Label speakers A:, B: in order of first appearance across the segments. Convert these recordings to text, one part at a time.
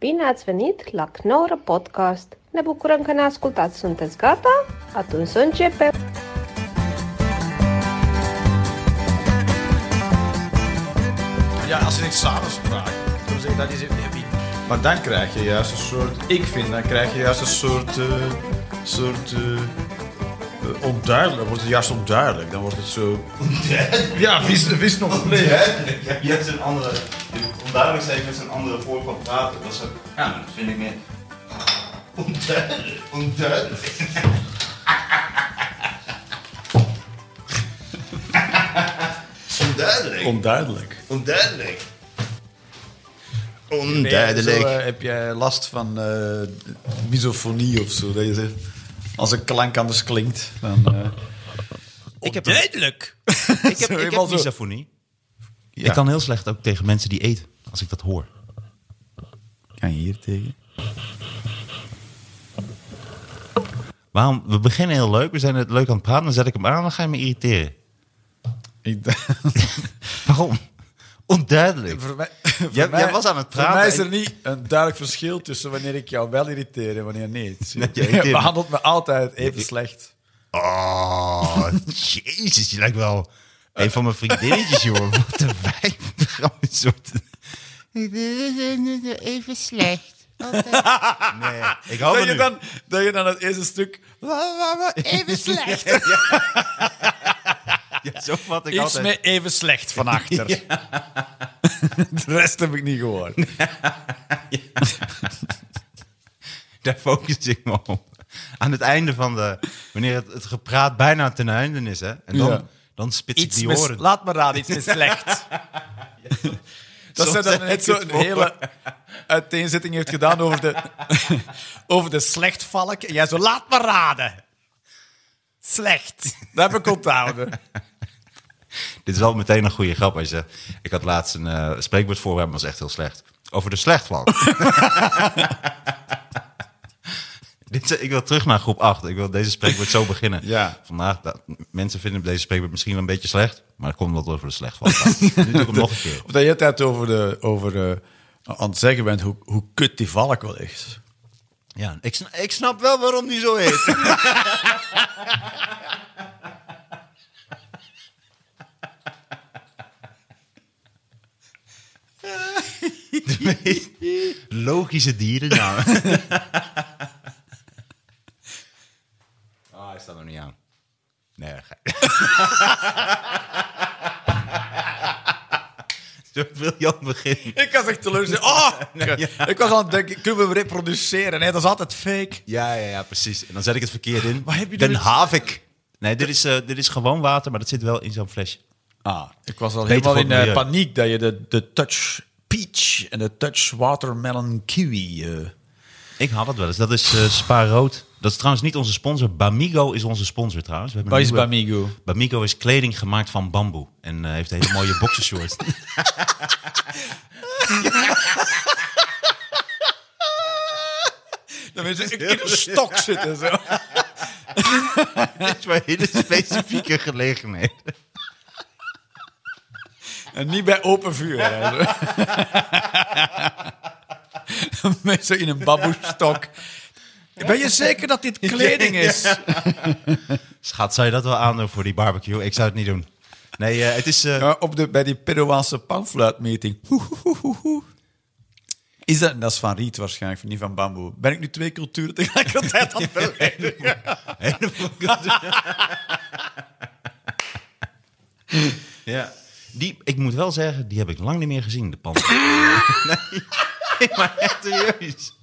A: Bine ați venit la Knorr Podcast! Ne bucurăm că ne ascultați! Sunteți gata? Atunci să începem!
B: Ja, als je denkt samenspraak, dan zeg je dat is het niet. Maar dan krijg je juist een soort, ik vind, dan krijg je juist een soort, eh, soort eh, eh, onduidelijk. Dan wordt het juist onduidelijk. Dan wordt het zo. ja, wist, wist nog
C: Nee,
B: niet.
C: hè? Je- Je hebt een andere. Onduidelijk zijn met een andere vorm van praten. Dat is ook- ja, dat vind ik meer. Onduidelijk. Onduidelijk. Onduidelijk.
B: Onduidelijk.
C: Onduidelijk.
B: Zo, eh, heb jij last van eh, misofonie of zo? Dat je zegt, als een klank anders klinkt, dan. eh,
D: Ik heb,
E: Duidelijk!
D: ik heb,
B: Zo,
D: ik
B: helemaal
D: heb
B: zo.
D: misofonie.
B: ja.
D: Ik kan heel slecht ook tegen mensen die eten, als ik dat hoor.
E: Kan je hier tegen?
D: Waarom? We beginnen heel leuk, we zijn het leuk aan het praten, dan zet ik hem aan, dan ga je me irriteren.
B: Ik-
D: Waarom? Onduidelijk.
B: Voor mij, voor
D: Jij-
B: mij-
D: jij was aan het praten
B: Voor mij is
D: en-
B: er niet een duidelijk verschil tussen wanneer ik jou wel irriteer en wanneer niet.
D: Nee,
B: je
D: je irriteert me.
B: behandelt me altijd even slecht.
D: Oh, jezus, je lijkt wel een van mijn vriendinnetjes, joh. Wat een wijf. Gewoon een soort... Even slecht. Nee, ik
B: Dat
D: hou van
B: je,
D: u.
B: dan, dat je dan het eerste stuk... wa, wa, wa,
D: Even slecht. Ja, zo vat ik
B: Iets
D: altijd.
B: met even slecht van achter. De rest heb ik niet gehoord.
D: Daar focus ik me op. Aan het einde van de... Wanneer het, het gepraat bijna ten einde is, hè. En dan,
B: Ja.
D: dan spits ik
B: Iets
D: die
B: met-
D: oren.
B: laat me raden, iets met slecht. Dat
D: Soms
B: ze
D: zeg
B: dan
D: ik
B: net zo'n
D: het voor.
B: hele uiteenzetting heeft gedaan over de, over de slechtvalk. En jij zo, laat me raden. Slecht. Dat heb ik onthouden.
D: Dit is wel meteen een goede grap. Als je, ik had laatst een eh spreekwoord voor hem, was echt heel slecht. Over de slechtvalk. Dit, is- ik wil terug naar groep 8. Ik wil deze spreekwoord zo beginnen.
B: Ja.
D: Vandaag, dat, mensen vinden deze spreekwoord misschien wel een beetje slecht. Maar dat komt omdat het over de slechtvalk gaat. nu doe ik hem nog een keer.
B: Of dat je het tijd over, de, over eh, aan het zeggen bent hoe, hoe kut die valk wel is.
D: Ja, ik, sna- ik snap wel waarom die zo heet. De meest Logische dierennaam. Ah, hij staat nog niet aan. Nee, ga Zo wil je al beginnen.
B: Ik was echt teleurgesteld. Oh, Ik was aan het denken, kunnen we hem reproduceren? Nee, dat is altijd fake.
D: Ja, ja, ja, precies. En dan zet ik het verkeerd in.
B: Waar heb je
D: Den
B: dit-
D: Havik. Nee, dit is, eh, dit is gewoon water, maar dat zit wel in zo'n flesje.
B: Ah, ik was al
D: Beter
B: helemaal
D: voor
B: in
D: het
B: eh,
D: milieu.
B: paniek dat je de, de touch peach en de touch watermelon kiwi... eh,
D: Ik haal dat wel eens. Dat is eh Spa Rood. Dat is trouwens niet onze sponsor. Bamigo is onze sponsor trouwens. We hebben
B: Wat
D: een
B: is
D: nieuwe-
B: Bamigo?
D: Bamigo is kleding gemaakt van bamboe. En eh, heeft hele mooie boxershorts.
B: Dan mensen in een stok zitten. Zo.
D: dat is maar hele specifieke gelegenheid.
B: En niet bij open vuur. hè, zo. mensen in een baboestok. Ben je zeker dat dit kleding is?
D: Schat, zou je dat wel aandoen voor die barbecue? Ik zou het niet doen. Nee, eh, het is... eh,
B: Ja, op de, bij die Peruaanse panfluitmeting. Hoehoehoehoe. Is dat, dat is van riet waarschijnlijk, niet van bamboe. Ben ik nu twee culturen tegelijkertijd aan het verleggen?
D: Ja. Die, ik moet wel zeggen, die heb ik lang niet meer gezien, de panda. nee, maar echt serieus.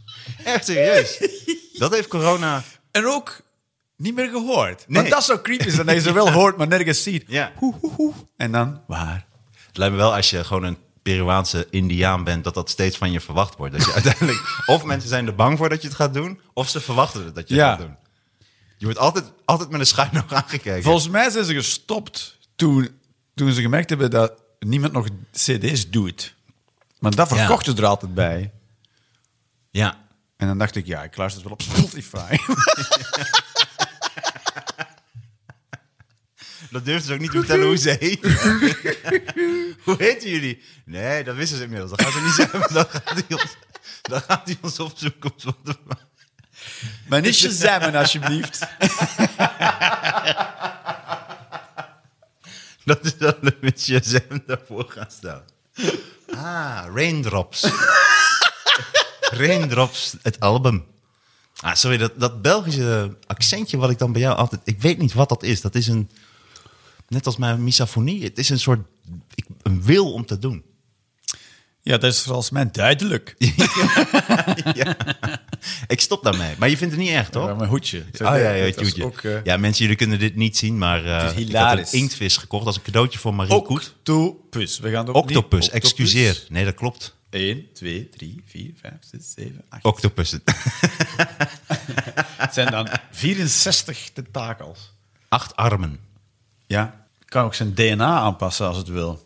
D: Echt serieus. Dat heeft corona...
B: En ook niet meer gehoord.
D: Nee.
B: Want dat is zo creepy, zijn dat je ze wel hoort, maar nergens ziet.
D: Ja.
B: Hoehoehoe. En dan, waar?
D: Het lijkt me wel als je gewoon een Peruaanse indiaan bent, dat dat steeds van je verwacht wordt. Dat je uiteindelijk, of mensen zijn er bang voor dat je het gaat doen, of ze verwachten het dat je
B: Ja.
D: het gaat doen. Je wordt altijd, altijd met een schuin nog aangekeken.
B: Volgens mij zijn ze gestopt toen, toen ze gemerkt hebben dat niemand nog cd's doet. Maar dat verkochten ze er altijd bij.
D: ja.
B: En dan dacht ik, ja, ik luister het wel op Spotify.
D: Dat durfden ze ook niet te vertellen hoe ze heet. hoe heten jullie? Nee, dat wisten ze inmiddels. Dat gaan ze niet zeggen. maar Dat gaat hij ons... Dan gaat hij ons opzoeken. om wat te maken.
B: Maar niet Shazammen, alsjeblieft.
D: Dat is dat we met Shazam daarvoor gaan staan. Ah, Raindrops. Raindrops, het album. Ah, sorry, dat, dat Belgische accentje wat ik dan bij jou altijd... Ik weet niet wat dat is. Dat is een... Net als mijn misafonie. Het is een soort... ik- een wil om te doen.
B: Ja, dat is volgens mij duidelijk.
D: Ik stop daarmee. Maar je vindt het niet echt, toch?
B: Ah, Ja, mijn hoedje.
D: Oh ja, ja, het
B: Dat is
D: hoedje.
B: Ook, eh,
D: ja, mensen, jullie kunnen dit niet zien, maar
B: Het is
D: eh, ik had een
B: hilarisch.
D: inktvis gekocht als een cadeautje voor Marie Koet.
B: Octopus. We gaan het opnieuw-
D: Octopus, excuseer. Nee, dat klopt.
B: 1, 2, 3, 4, 5, 6, 7, 8.
D: Octopussen.
B: Het zijn dan...
F: 64 tentakels.
D: Acht armen.
B: Ja, kan ook zijn DNA aanpassen als het wil.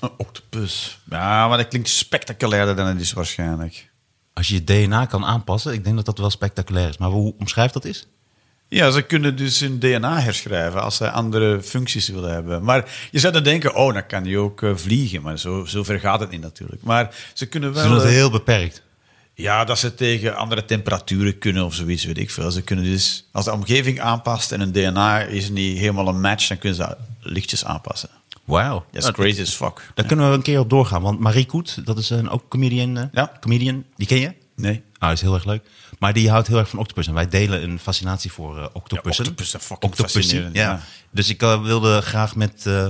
B: Een octopus. Ja, maar dat klinkt spectaculairder dan het is waarschijnlijk.
D: Als je je DNA kan aanpassen, ik denk dat dat wel spectaculair is. Maar hoe omschrijft dat is?
B: Ja, ze kunnen dus hun DNA herschrijven als ze andere functies willen hebben. Maar je zou dan denken, oh, dan kan die ook eh, vliegen. Maar zo, zover gaat het niet natuurlijk. Maar ze kunnen
D: Ze
B: wel...
D: doen dat
B: eh,
D: heel beperkt.
B: Ja, dat ze tegen andere temperaturen kunnen of zoiets, weet ik veel. Ze kunnen dus, als de omgeving aanpast en hun DNA is niet helemaal een match, dan kunnen ze dat lichtjes aanpassen. Ah,
D: Wauw.
B: Dat is
D: Nou,
B: crazy as fuck.
D: Daar kunnen we een keer op doorgaan. Want Marie Koet, dat is een, ook comedian, eh,
B: Ja.
D: comedian. Die ken je?
B: Nee.
D: Ah, is heel erg leuk. Maar die houdt heel erg van octopus. En wij delen een fascinatie voor eh, octopussen.
B: Ja, octopus zijn fucking
D: Octopussen,
B: fascinerend,
D: Ja.
B: ja.
D: Dus ik eh, wilde graag met eh,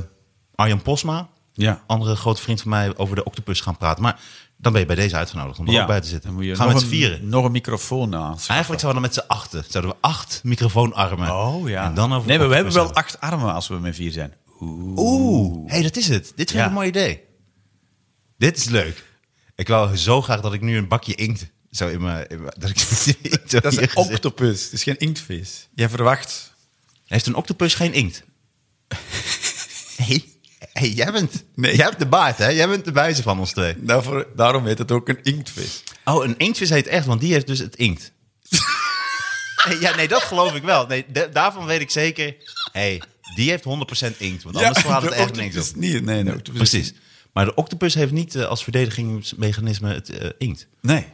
D: Arjan Posma,
B: Ja.
D: andere grote vriend van mij, over de octopus gaan praten. Maar dan ben je bij deze uitgenodigd om er ook bij te zitten.
B: dan moet je
D: gaan we
B: nog
D: met z'n
B: een-
D: vieren.
B: Nog een microfoon naast.
D: Eigenlijk zouden we dan met z'n achten. Zouden we acht microfoonarmen.
B: Oh ja.
D: En dan over
B: nee, maar we hebben
D: octopus
B: wel acht armen als we met vier zijn.
D: Oeh, hey, dat is het. Dit vind ik
B: Ja.
D: een mooi idee. Dit is leuk. Ik wou zo graag dat ik nu een bakje inkt zo in mijn... in mijn- dat, ik,
B: Dat is een
D: ook.
B: octopus, het is geen inktvis. Jij verwacht.
D: Heeft een octopus geen inkt? hey, hey, jij bent... Nee, jij hebt de baard, hè? Jij bent de wijze van ons twee.
B: Daarvoor, daarom heet het ook een inktvis.
D: Oh, een inktvis heet echt, want die heeft dus het inkt. Hey, ja, nee, dat geloof ik wel. Nee, da- daarvan weet ik zeker... hey, die heeft 100% inkt, want anders slaat het
B: de
D: echt
B: octopus
D: niks op.
B: Niet, nee, de octopus is-
D: Precies. Maar de octopus heeft niet eh, als verdedigingsmechanisme het eh, inkt.
B: Nee.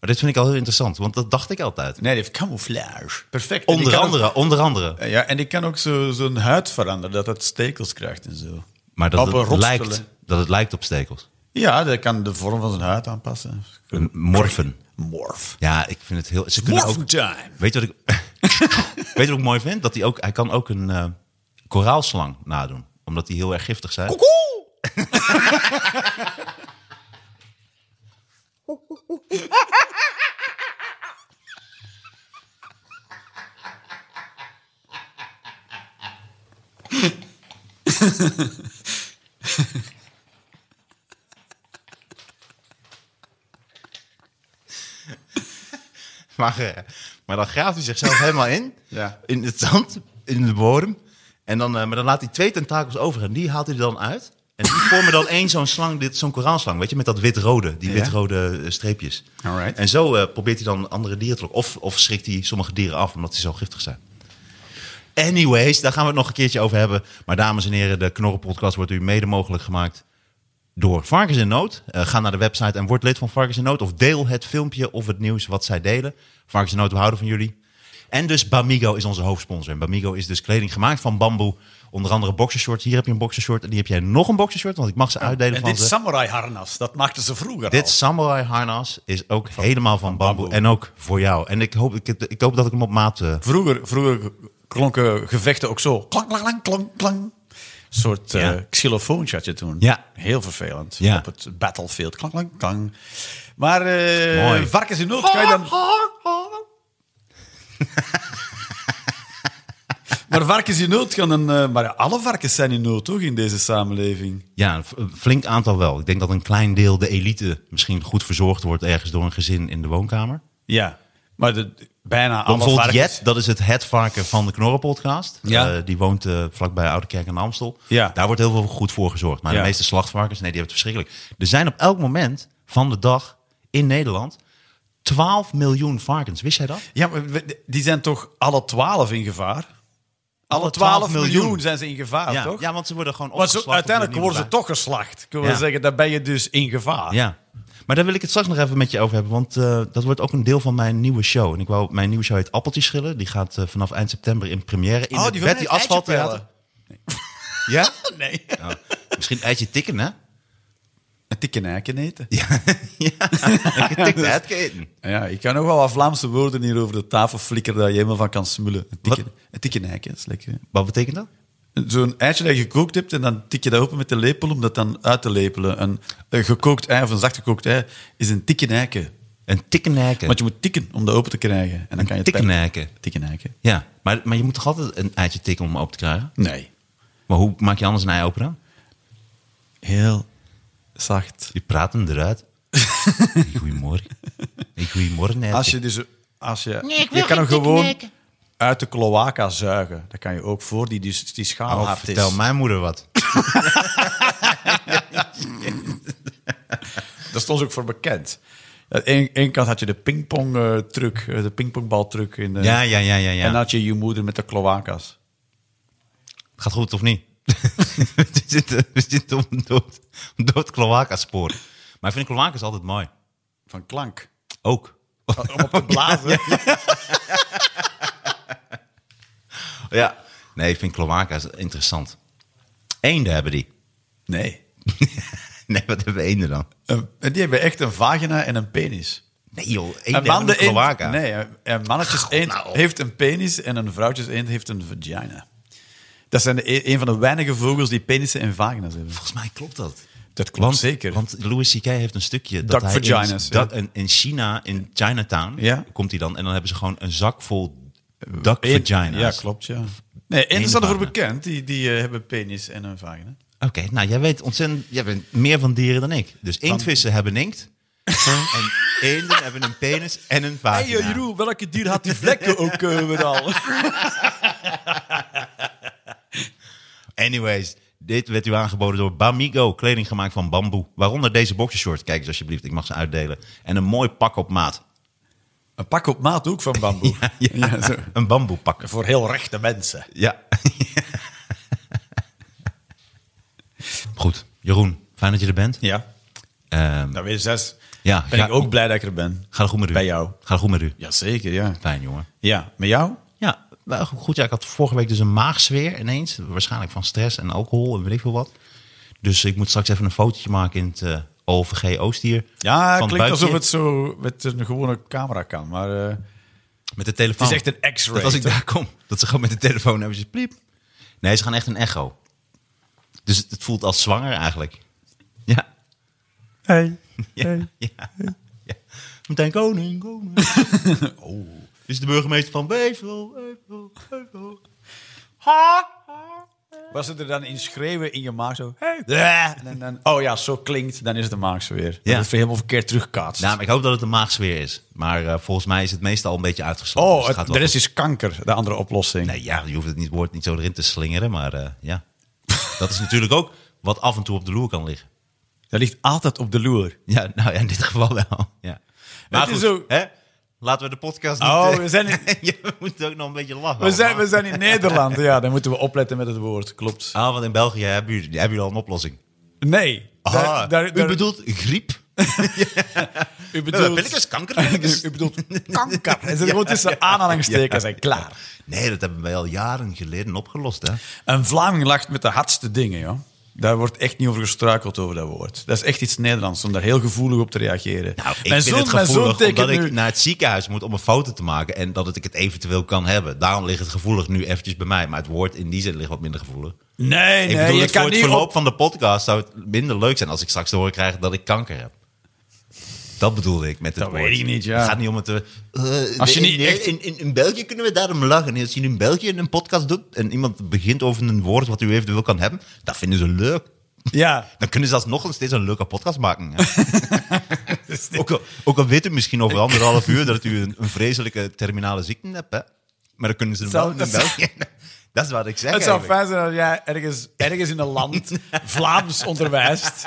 D: Maar dit vind ik al heel interessant, want dat dacht ik altijd.
B: Nee, die heeft camouflage. Perfect. En die
D: Onder
B: kan ook-
D: andere, onder andere.
B: Ja, en die kan ook zo- zo'n huid veranderen, dat het stekels krijgt en zo.
D: Maar
B: Op
D: dat
B: een
D: het,
B: rotspullen.
D: lijkt, dat het lijkt op stekels.
B: Ja, dat kan de vorm van zijn huid aanpassen.
D: Een Morfen.
B: Morph.
D: Ja, ik vind het heel... Ze kunnen
B: Morph
D: ook,
B: time.
D: weet je wat ik, weet je wat ik mooi vind? Dat hij, ook, hij kan ook een eh, koraalslang nadoen. Omdat die heel erg giftig zijn. Maar, eh, maar dan graaft hij zichzelf helemaal in.
B: Ja.
D: In het zand, in de bodem. En dan, eh, maar dan laat hij twee tentakels over en die haalt hij er dan uit. En die vormen dan één zo'n slang, dit- zo'n koraalslang. Weet je, met dat wit-rode, die
B: Ja.
D: wit-rode eh, streepjes.
B: Alright.
D: En zo eh, probeert hij dan andere dieren te lokken. Of, of schrikt hij sommige dieren af omdat ze zo giftig zijn. Anyways, daar gaan we het nog een keertje over hebben. Maar dames en heren, de Knorrenpodcast wordt u mede mogelijk gemaakt door Varkens in Nood. Eh, ga naar de website en word lid van Varkens in Nood. Of deel het filmpje of het nieuws wat zij delen. Varkens in Nood, we houden van jullie. En dus Bamigo is onze hoofdsponsor. En Bamigo is dus kleding gemaakt van bamboe. Onder andere boxershorts. Hier heb je een boxershort. En die heb jij nog een boxershort, want ik mag ze uitdelen
B: En
D: van
B: dit
D: ze.
B: samurai harnas, dat maakten ze vroeger
D: Dit
B: al.
D: samurai harnas is ook helemaal van bamboe. En ook voor jou. En ik hoop, ik, ik hoop dat ik hem op maat... eh,
B: Vroeger, vroeger klonken gevechten ook zo. Klank, klank, klank, klank, klank. Een soort eh
D: Ja.
B: xylofoontje had je toen.
D: Ja.
B: Heel vervelend.
D: Ja.
B: Op het battlefield. Klank, klank, klank. Maar eh,
D: Mooi.
B: varkens in nood kan je dan... maar varkens in nood kan een... eh, maar ja, alle varkens zijn in nood, toch, in deze samenleving?
D: Ja, een v- een flink aantal wel. Ik denk dat een klein deel, de elite, misschien goed verzorgd wordt ergens door een gezin in de woonkamer.
B: Ja. Maar de, bijna
D: Dan
B: alle
D: bijvoorbeeld
B: varkens...
D: Jet, dat is het het varken van de Knorrenpodcast.
B: Ja.
D: Eh, die woont eh, vlakbij Oude Kerk aan de Amstel.
B: Ja.
D: Daar wordt heel veel goed voor gezorgd. Maar
B: Ja.
D: de meeste slachtvarkens, nee, die hebben het verschrikkelijk. Er zijn op elk moment van de dag in Nederland 12 miljoen varkens. Wist jij dat?
B: Ja, maar we- die zijn toch alle twaalf in gevaar? Alle 12 miljoen. zijn ze in gevaar,
D: ja.
B: toch?
D: ja, want ze worden gewoon
B: maar zo,
D: opgeslacht. of
B: uiteindelijk
D: er
B: worden ze
D: nieuwe
B: toch geslacht. Kunnen
D: Ja.
B: we zeggen, dan ben je dus in gevaar.
D: bij- Ja. Maar daar wil ik het straks nog even met je over hebben. Want eh, dat wordt ook een deel van mijn nieuwe show. En ik wou, mijn nieuwe show heet Appeltjes Schillen. Die gaat eh, vanaf eind september in première. In
B: Oh,
D: het
B: die wil
D: Betty
B: net
D: Asphalt
B: eitje
D: Theater. Ja?
B: Nee.
D: Nou, misschien eitje tikken, hè?
B: Een dikke nijken eten.
D: Tikken, het eten.
B: Ja, ik kan nog wel wat Vlaamse woorden hier over de tafel flikkeren dat je helemaal van kan smullen. Een dikke,
D: Wat?
B: een dikke nijken, dat is lekker. hè.
D: Wat betekent dat?
B: Zo'n eitje dat je gekookt hebt en dan tik je dat open met de lepel om dat dan uit te lepelen. Een, een gekookt ei of een zacht gekookt ei is een dikke nijken.
D: Een tikken nijken.
B: Want je moet tikken om dat open te krijgen. En dan kan je
D: Een tikken nijken.
B: Tikken nijken.
D: Ja, maar, maar je moet toch altijd een eitje tikken om hem open te krijgen?
B: Nee.
D: Maar hoe maak je anders een ei open dan?
B: Heel zacht.
D: Je praat hem eruit. Goedemorgen. Hey, Goedemorgen, eitje.
B: Als je dus... Als je, je kan hem gewoon uit de cloaca zuigen. Dat kan je ook voor die, die, die schaal
D: Oh,
B: nou hard is.
D: vertel mijn moeder wat.
B: Daar stond ze ook voor bekend. Aan één kant had je de pingpong eh, truc, eh, de pingpongbal truc. In, eh,
D: Ja, ja, ja, ja. ja.
B: En dan had je je moeder met de cloacas.
D: Gaat goed of niet? we, zitten, we zitten op een dood, een dood kloakaspoor. Maar ik vind kloakas altijd mooi.
B: Van klank.
D: Ook.
B: Om op te blazen.
D: Ja. Nee, ik vind kloakas interessant. Eenden hebben die.
B: Nee.
D: Nee, wat hebben eenden dan?
B: Een- en die hebben echt een vagina en een penis.
D: Nee joh,
B: Een
D: eenden hebben een
B: eend-
D: kloaka.
B: Nee, een- een mannetjes eend
D: nou.
B: heeft een penis en een vrouwtjes eend heeft een vagina. Dat zijn de, e- een van de weinige vogels die penissen en vagina's hebben.
D: Volgens mij klopt dat.
B: Dat klopt
D: Want,
B: zeker.
D: Want Louis C.K. heeft een stukje.
B: Duck
D: dat hij
B: vaginas,
D: In, dat,
B: ja.
D: in- in China, in Chinatown,
B: Ja.
D: komt hij dan. En dan hebben ze gewoon een zak vol duck
B: Eend-
D: vagina's.
B: Ja, klopt, ja. Nee, eenden
D: Eend
B: staan ervoor
D: vagina.
B: bekend. Die, die eh, hebben penis en een vagina.
D: Oké, nou jij weet ontzettend, jij bent meer van dieren dan ik. Dus inktvissen hebben inkt. en eenden hebben een penis en een
B: Hé
D: vagina.
B: hey, eh, Jeroen, welke dier had die vlekken ook eh, weer al?
D: Anyways, dit werd u aangeboden door Bamigo, kleding gemaakt van bamboe. Waaronder deze boxershort, kijk eens alsjeblieft, ik mag ze uitdelen. En een mooi pak op maat.
B: Een pak op maat ook van bamboe.
D: Ja,
B: zo.
D: een bamboepak.
B: Voor heel rechte mensen.
D: Ja. Goed, Jeroen, fijn dat je er bent.
B: Ja.
D: Ehm,
B: Nou, weer zes.
D: Ja,
B: ben
D: ga-
B: ik ook blij dat ik er ben.
D: Gaat het goed met u?
B: Bij jou.
D: Gaat het goed met u?
B: Jazeker, ja.
D: Fijn, jongen.
B: Ja, met jou?
D: Ja, wel goed. Ja, ik had vorige week dus een maagzweer ineens. Waarschijnlijk van stress en alcohol en weet ik veel wat. Dus ik moet straks even een fotootje maken in het eh OVG Oostier.
B: Ja, het
D: Van
B: klinkt
D: buikje.
B: alsof het zo met een gewone camera kan. Maar eh, oh.
D: Met de telefoon.
B: Het is echt een X-ray,
D: Dat als ik
B: toch?
D: daar kom, dat ze gewoon met de telefoon hebben. Ze pliep. Nee, ze gaan echt een echo. Dus het, het voelt als zwanger eigenlijk. Ja. Hey. Ja. ja. ja. Meteen koning, koning. oh. Is de burgemeester van Wevel, Wevel, Wevel.
B: was het er dan in schreeuwen in je maag zo... Hey. Ja, en dan, oh ja, zo klinkt, dan is het de maag zo weer.
D: Ja.
B: Dat het helemaal verkeerd terugkaatst.
D: Nou, maar ik hoop dat het een maagzweer is. Maar eh, volgens mij is het meestal een beetje uitgeslagen.
B: oh,
D: Dus
B: het-
D: gaat wel
B: de rest is kanker, de andere oplossing.
D: goed. Nee, ja, je hoeft het niet, woord niet zo erin te slingeren, maar eh, ja. dat is natuurlijk ook wat af en toe op de loer kan liggen.
B: Dat ligt altijd op de loer.
D: Ja, nou ja, in dit geval wel. Ja. Maar
B: Het is
D: goed,
B: ook-
D: hè? laten we de podcast niet...
B: Oh,
D: eh,
B: we zijn in-
D: je moet ook nog een beetje lachen.
B: We zijn, we
D: allemaal.
B: zijn in Nederland, ja, dan moeten we opletten met het woord, klopt.
D: Ah, want in België hebben jullie, hebben jullie al een oplossing.
B: Nee. daar-
D: Ah,
B: daar-
D: u
B: daar-
D: bedoelt griep?
B: u
D: Bedoelt...
B: bedoelt,
D: Pilletjes, kankerpilletjes?
B: u bedoelt kanker. En ze gewoon tussen aanhalingstekens en klaar.
D: Nee, dat hebben wij al jaren geleden opgelost, hè?
B: Een Vlaming lacht met de hardste dingen, joh. Daar wordt echt niet over gestruikeld over dat woord. Dat is echt iets Nederlands, om daar heel gevoelig op te reageren.
D: Nou, ik
B: Mijn
D: vind
B: zoon-
D: het
B: mijn zoon
D: gevoelig omdat
B: tekent
D: ik
B: nu-
D: naar het ziekenhuis moet om een foto te maken en dat het- ik het eventueel kan hebben. Daarom ligt het gevoelig nu eventjes bij mij. Maar het woord in die zin ligt wat minder gevoelig.
B: Nee,
D: Ik
B: nee,
D: bedoel,
B: je
D: het
B: kan
D: voor het
B: niet
D: verloop
B: op...
D: van de podcast zou het minder leuk zijn als ik straks te horen krijg dat ik kanker heb. Dat bedoelde ik met het
B: Dat
D: woord.
B: weet ik niet, ja.
D: Het gaat niet om het... eh, eh,
B: Als je
D: in-
B: niet
D: in-
B: echt-
D: in, in, in België kunnen we daarom lachen. En Als je in België een podcast doet en iemand begint over een woord wat u eventueel kan hebben, dat vinden ze leuk.
B: Ja,
D: Dan kunnen ze alsnog nog steeds een leuke podcast maken. hè.
B: Dus
D: ook, al, ook al weten we misschien over anderhalf uur dat u een, een vreselijke terminale ziekte hebt. Hè? Maar dan kunnen ze hem
B: Zou-
D: wel in
B: dat
D: België. Dat is wat ik zeg
B: het zou
D: eigenlijk.
B: fijn zijn als jij ergens, ergens in een land Vlaams onderwijst.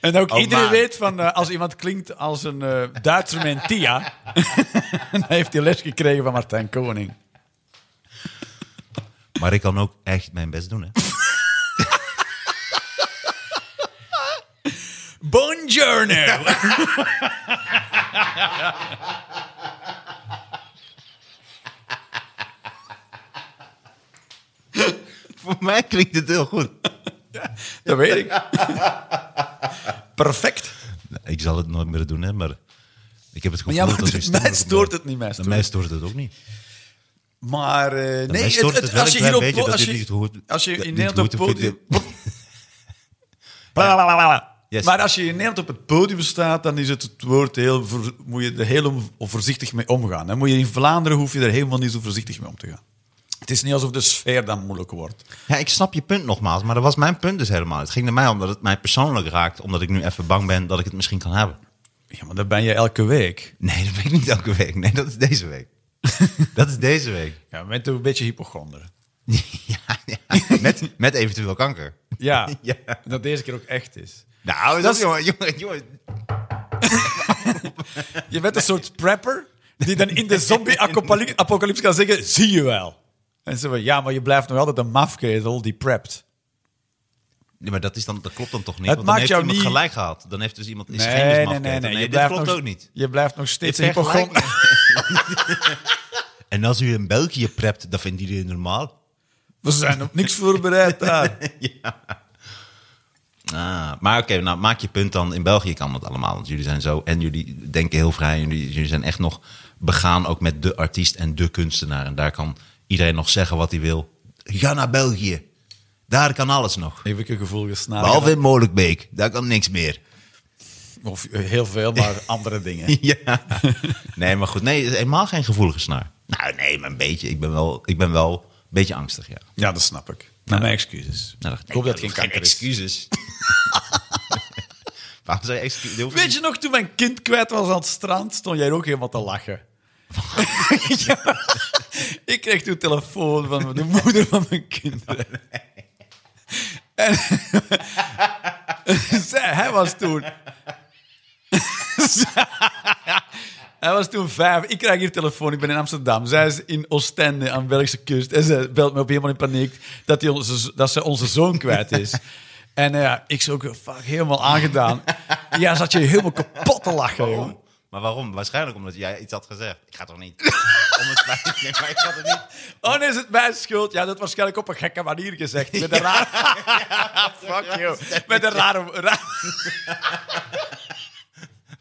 B: En ook
D: Oh,
B: iedereen
D: maar.
B: weet van, eh, als iemand klinkt als een eh, Duitser met een Tia, dan heeft hij les gekregen van Martijn Koning.
D: Maar ik kan ook echt mijn best doen. Hè?
B: Buongiorno!
D: Voor mij klinkt dit heel goed.
B: Dat weet ik. Perfect.
D: Nou, Ik zal het nooit meer doen, hè, maar ik heb het gevoel
B: ja, maar
D: dat
B: de-
D: je stem
B: mij
D: erop
B: stoort
D: blijft.
B: het niet, mij
D: Nou,
B: stoort
D: Mij
B: het.
D: stoort het ook niet.
B: Maar eh, nee,
D: mij stoort het wel
B: als je
D: een klein
B: hier op
D: beetje dat
B: als
D: je
B: je,
D: niet goed-
B: als je
D: dat
B: in
D: niet
B: Nederland op
D: goed
B: het
D: vindt,
B: podium. Blablabla.
D: Yes.
B: Maar als je in Nederland op het podium staat, dan is het, het woord heel, voor- moet je er heel om- voorzichtig mee omgaan. Dan moet je in Vlaanderen hoef je er helemaal niet zo voorzichtig mee om te gaan. Het is niet alsof de sfeer dan moeilijk wordt.
D: Ja, ik snap je punt nogmaals, maar dat was mijn punt dus helemaal. Het ging er mij om dat het mij persoonlijk raakt, omdat ik nu even bang ben dat ik het misschien kan hebben.
B: Ja, maar dat ben je elke week.
D: Nee, dat ben ik niet elke week. Nee, dat is deze week. dat is deze week.
B: Ja, je bent een beetje hypochonder.
D: ja, ja. Met, met eventueel kanker.
B: Ja,
D: Ja.
B: dat deze keer ook echt is.
D: Nou, dat
B: Dat
D: is
B: is-
D: jongen, jongen, jongen.
B: Je bent een soort prepper die dan in de zombie-apocalypse kan zeggen: zie je wel. En ze van ja, maar je blijft nog altijd een mafketel die prept.
D: Nee, maar dat, is dan, dat klopt dan toch niet?
B: Het
D: Want dan
B: maakt
D: heeft
B: jou
D: iemand
B: niet-
D: gelijk gehad. Dan heeft dus iemand is geen mismafketen. Nee, dat klopt
B: nog,
D: ook niet.
B: Je blijft nog
D: Dit
B: steeds
D: heeft hij
B: hypochonder.
D: gelijk. en als u in België prept, dat vindt iedereen normaal.
B: We zijn op niks voorbereid daar.
D: Ah, maar oké, nou maak je punt dan. In België kan dat allemaal, want jullie zijn zo... en jullie denken heel vrij. Jullie, jullie zijn echt nog begaan ook met de artiest en de kunstenaar. En daar kan iedereen nog zeggen wat hij wil. Ga naar België. Daar kan alles nog.
B: Heb ik een gevoel gesnapt.
D: Behalve in Molenbeek. Daar kan niks meer.
B: Of eh, heel veel, maar andere dingen.
D: Ja. Nee, maar goed. Nee, het is helemaal geen gevoelige snaar. Nou, nee, maar een beetje. Ik ben wel, ik ben wel een beetje angstig, ja.
B: Ja, dat snap ik. Nou, mijn excuses.
D: Nou,
B: ik hoop dat het geen
D: hoeft
B: kanker is.
D: excuses. Waarom zou je excuses... dat hoeft
B: Weet
D: niet.
B: je nog, toen mijn kind kwijt was aan het strand, stond jij ook helemaal te lachen. Ja. Ik kreeg toen telefoon van de moeder van mijn kinderen. En zij, hij was toen... Hij was toen vijf. Ik krijg hier telefoon. Ik ben in Amsterdam. Zij is in Oostende aan de Belgische kust. En ze belt me op helemaal in paniek dat, die onze, dat ze onze zoon kwijt is. En eh, ja, ik zo ook fuck, helemaal aangedaan. Ja, zat je helemaal kapot te lachen, joh.
D: Maar waarom? Waarschijnlijk omdat jij iets had gezegd. Ik ga toch niet... Om het spijt. Nee, maar ik had het niet...
B: Oh, nee, is het mijn schuld? Ja, dat waarschijnlijk op een gekke manier gezegd. Met een raar... Fuck you. Met een rare... raar-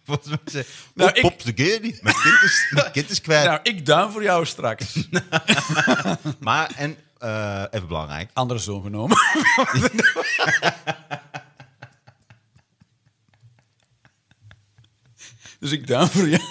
D: Volgens mij zei-
B: Nou,
D: Oh,
B: ik-
D: Pop, de keer niet. Mijn kind is, mijn kind is kwijt.
B: Nou, ik duim voor jou straks.
D: Maar, en... eh, even belangrijk.
B: Andere zoon genomen. dus ik duim voor jou.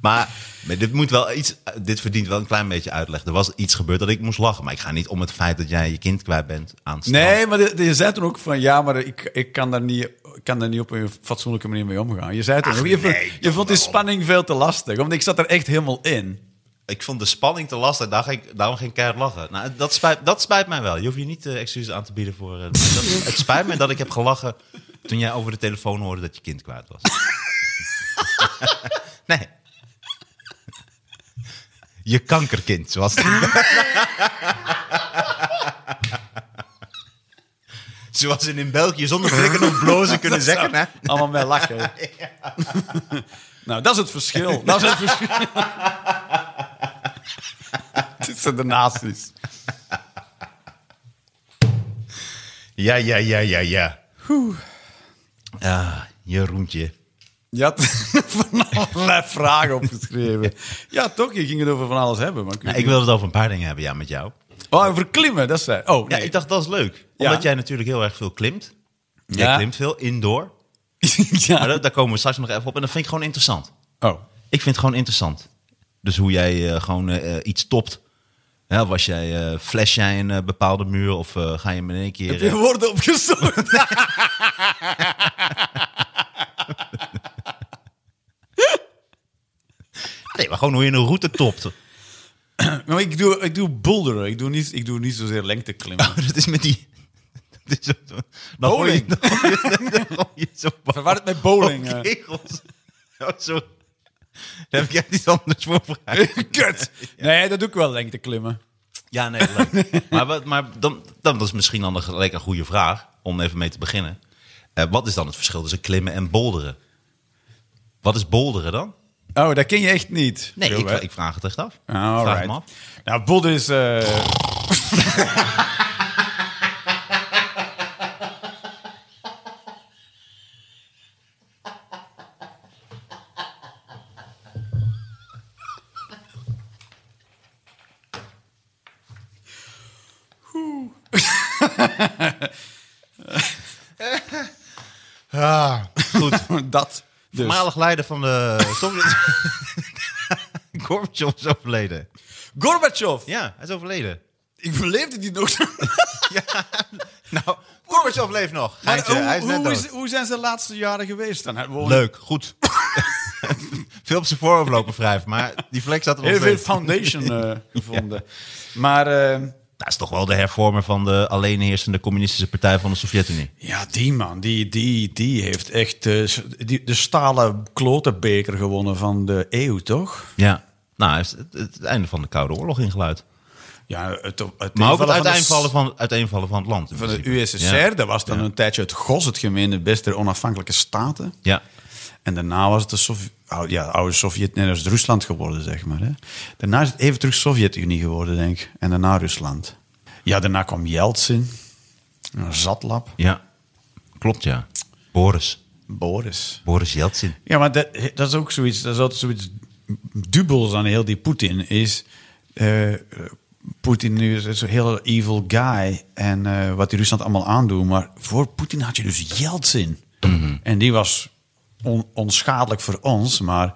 D: Maar, maar dit, moet wel iets, dit verdient wel een klein beetje uitleg. Er was iets gebeurd dat ik moest lachen. Maar ik ga niet om het feit dat jij je kind kwijt bent aan het strand.
B: Nee, maar je, je zei toen ook van ja, maar ik, ik, kan daar niet, ik kan daar niet op een fatsoenlijke manier mee omgaan. Je zei toen
D: Ach,
B: ook, je, vond-
D: nee,
B: je
D: toch
B: vond die
D: wel.
B: spanning veel te lastig. Want ik zat er echt helemaal in.
D: Ik vond de spanning te lastig. Daar ging, daarom ging ik keihard lachen. Nou, dat, spijt, dat spijt mij wel. Je hoeft je niet eh, excuses aan te bieden voor... eh, maar dat- het spijt me dat ik heb gelachen toen jij over de telefoon hoorde dat je kind kwijt was. nee. Je kankerkind, zoals het... Zoals ze in België zonder flikken of blozen kunnen zeggen, hè?
B: Allemaal met lachen. nou, dat is het verschil. Dat is het verschil. Tussen de naties.
D: Ja, ja, ja, ja, ja. Ah, Jeroentje.
B: Je had van allerlei vragen opgeschreven. Ja, toch? Je ging het over van alles hebben. Maar ik weet
D: Nou, ik
B: niet-
D: wilde het over een paar dingen hebben, ja, met jou.
B: Oh, over klimmen, dat zei Oh,
D: Ja,
B: nee.
D: ik dacht, dat is leuk.
B: Ja.
D: Omdat jij natuurlijk heel erg veel klimt. Jij
B: Ja.
D: klimt veel, indoor.
B: ja.
D: Maar dat- daar komen we straks nog even op. En dat vind ik gewoon interessant.
B: Oh.
D: Ik vind het gewoon interessant. Dus hoe jij eh, gewoon eh, eh, iets topt. Ja, was jij, eh, flash jij een eh, bepaalde muur of eh, ga je hem in één keer...
B: Heb je
D: eh,
B: woorden opgezocht?
D: nee, maar gewoon hoe je een route topt.
B: Maar ik doe, ik doe boulderen. Ik doe niet, ik doe niet zozeer lengteklimmen.
D: Oh, dat is met die... dat is zo- Dan hoor je,
B: Bowling.
D: dan hoor je, dan hoor je zo'n
B: Verwaar het met bowling.
D: bal
B: eh.
D: kegels. Oh, sorry. Daar heb ik echt iets anders voor gevraagd.
B: Kut. Nee, dat doe ik wel lengteklimmen.
D: Ja, nee, leuk. maar wat- maar dan, dan, dat is misschien dan een, gelijk een goede vraag om even mee te beginnen. Eh, wat is dan het verschil tussen klimmen en boulderen? Wat is boulderen dan?
B: Oh, dat ken je echt niet.
D: Nee, ik,
B: Gilbert.
D: ik vraag het echt af. Ik
B: Ah,
D: vraag
B: Alright.
D: hem af.
B: Nou, Bod is... eh,
D: Goed.
B: dat. Dus.
D: Voormalig leider van de Sovjet... Gorbachev is overleden.
B: Gorbachev.
D: Ja, hij is overleden.
B: Ik beleefde die nog.
D: Nou, Gorbachev leeft nog.
B: Maar
D: Geintje,
B: hoe,
D: hij is net
B: hoe,
D: dood.
B: is, hoe zijn ze de laatste jaren geweest dan? Hij woont-
D: Leuk, goed. veel op zijn voorhoofd lopen wrijven, maar die flex zat er nog
B: Heel veel
D: steeds.
B: foundation eh, gevonden. Maar eh,
D: Dat Nou, is toch wel de hervormer van de alleenheersende communistische partij van de Sovjet-Unie.
B: ja, die man, die, die, die heeft echt eh, s- die, de stalen klotenbeker gewonnen van de eeuw, toch?
D: Ja. Nou, hij heeft het, het einde van de Koude Oorlog ingeluid.
B: Ja, het, het
D: Maar ook het
B: invallen van de s-
D: uiteenvallen van, uiteenvallen van het land. in
B: Van de
D: principe.
B: USSR,
D: Ja.
B: dat was dan een tijdje het GOS, het gemene best der onafhankelijke staten.
D: Ja.
B: En daarna was het de Sovje- ou- ja, oude Sovjet, nee, dat is Rusland geworden, zeg maar. Hè. Daarna is het even terug Sovjet-Unie geworden, denk ik. En daarna Rusland. Ja, daarna kwam Yeltsin, een zatlap,
D: ja. Klopt, ja. Boris.
B: Boris.
D: Boris Yeltsin.
B: Ja, maar dat, dat is ook zoiets, dat is altijd zoiets dubbels aan heel die Poetin. Is eh, Poetin nu is zo'n heel evil guy en eh, wat die Rusland allemaal aandoen. Maar voor Poetin had je dus Yeltsin. En die was on- onschadelijk voor ons, maar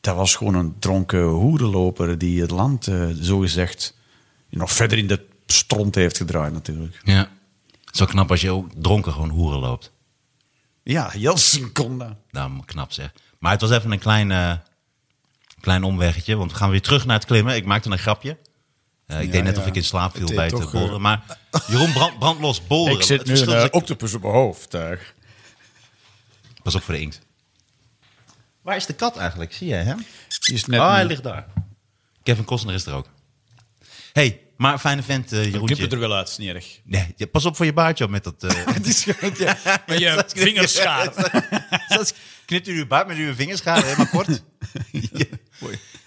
B: dat was gewoon een dronken hoerenloper die het land eh, zogezegd nog verder in de stront heeft gedraaid natuurlijk.
D: Ja. Zo knap als je ook dronken gewoon hoeren loopt.
B: Ja, Yeltsin kon dat.
D: Nou, knap zeg. Maar het was even een klein, eh, klein omweggetje. Want we gaan weer terug naar het klimmen. Ik maakte een grapje. Eh, ik deed net
B: ja.
D: of ik in slaap viel
B: Het
D: bij
B: deed
D: het
B: toch,
D: eh, bolderen. Maar Jeroen, brand, brand los, bolderen.
B: Ik zit
D: Het
B: nu
D: verschil
B: een
D: is-
B: eh, octopus op mijn hoofd. eh.
D: Pas op voor de inkt. Waar is de kat eigenlijk? Zie jij hem?
B: Die is net
D: oh, hij
B: niet-
D: ligt daar. Kevin Costner is er ook. hey, maar fijne vent, eh
B: Ik knip
D: Jeroentje.
B: het er wel uit, snierig.
D: Nee, ja, pas op voor je baardje op met dat... eh,
B: Met je vingers schaar.
D: Zoals- knipt u uw baard met uw vingers gaan helemaal kort. Ja.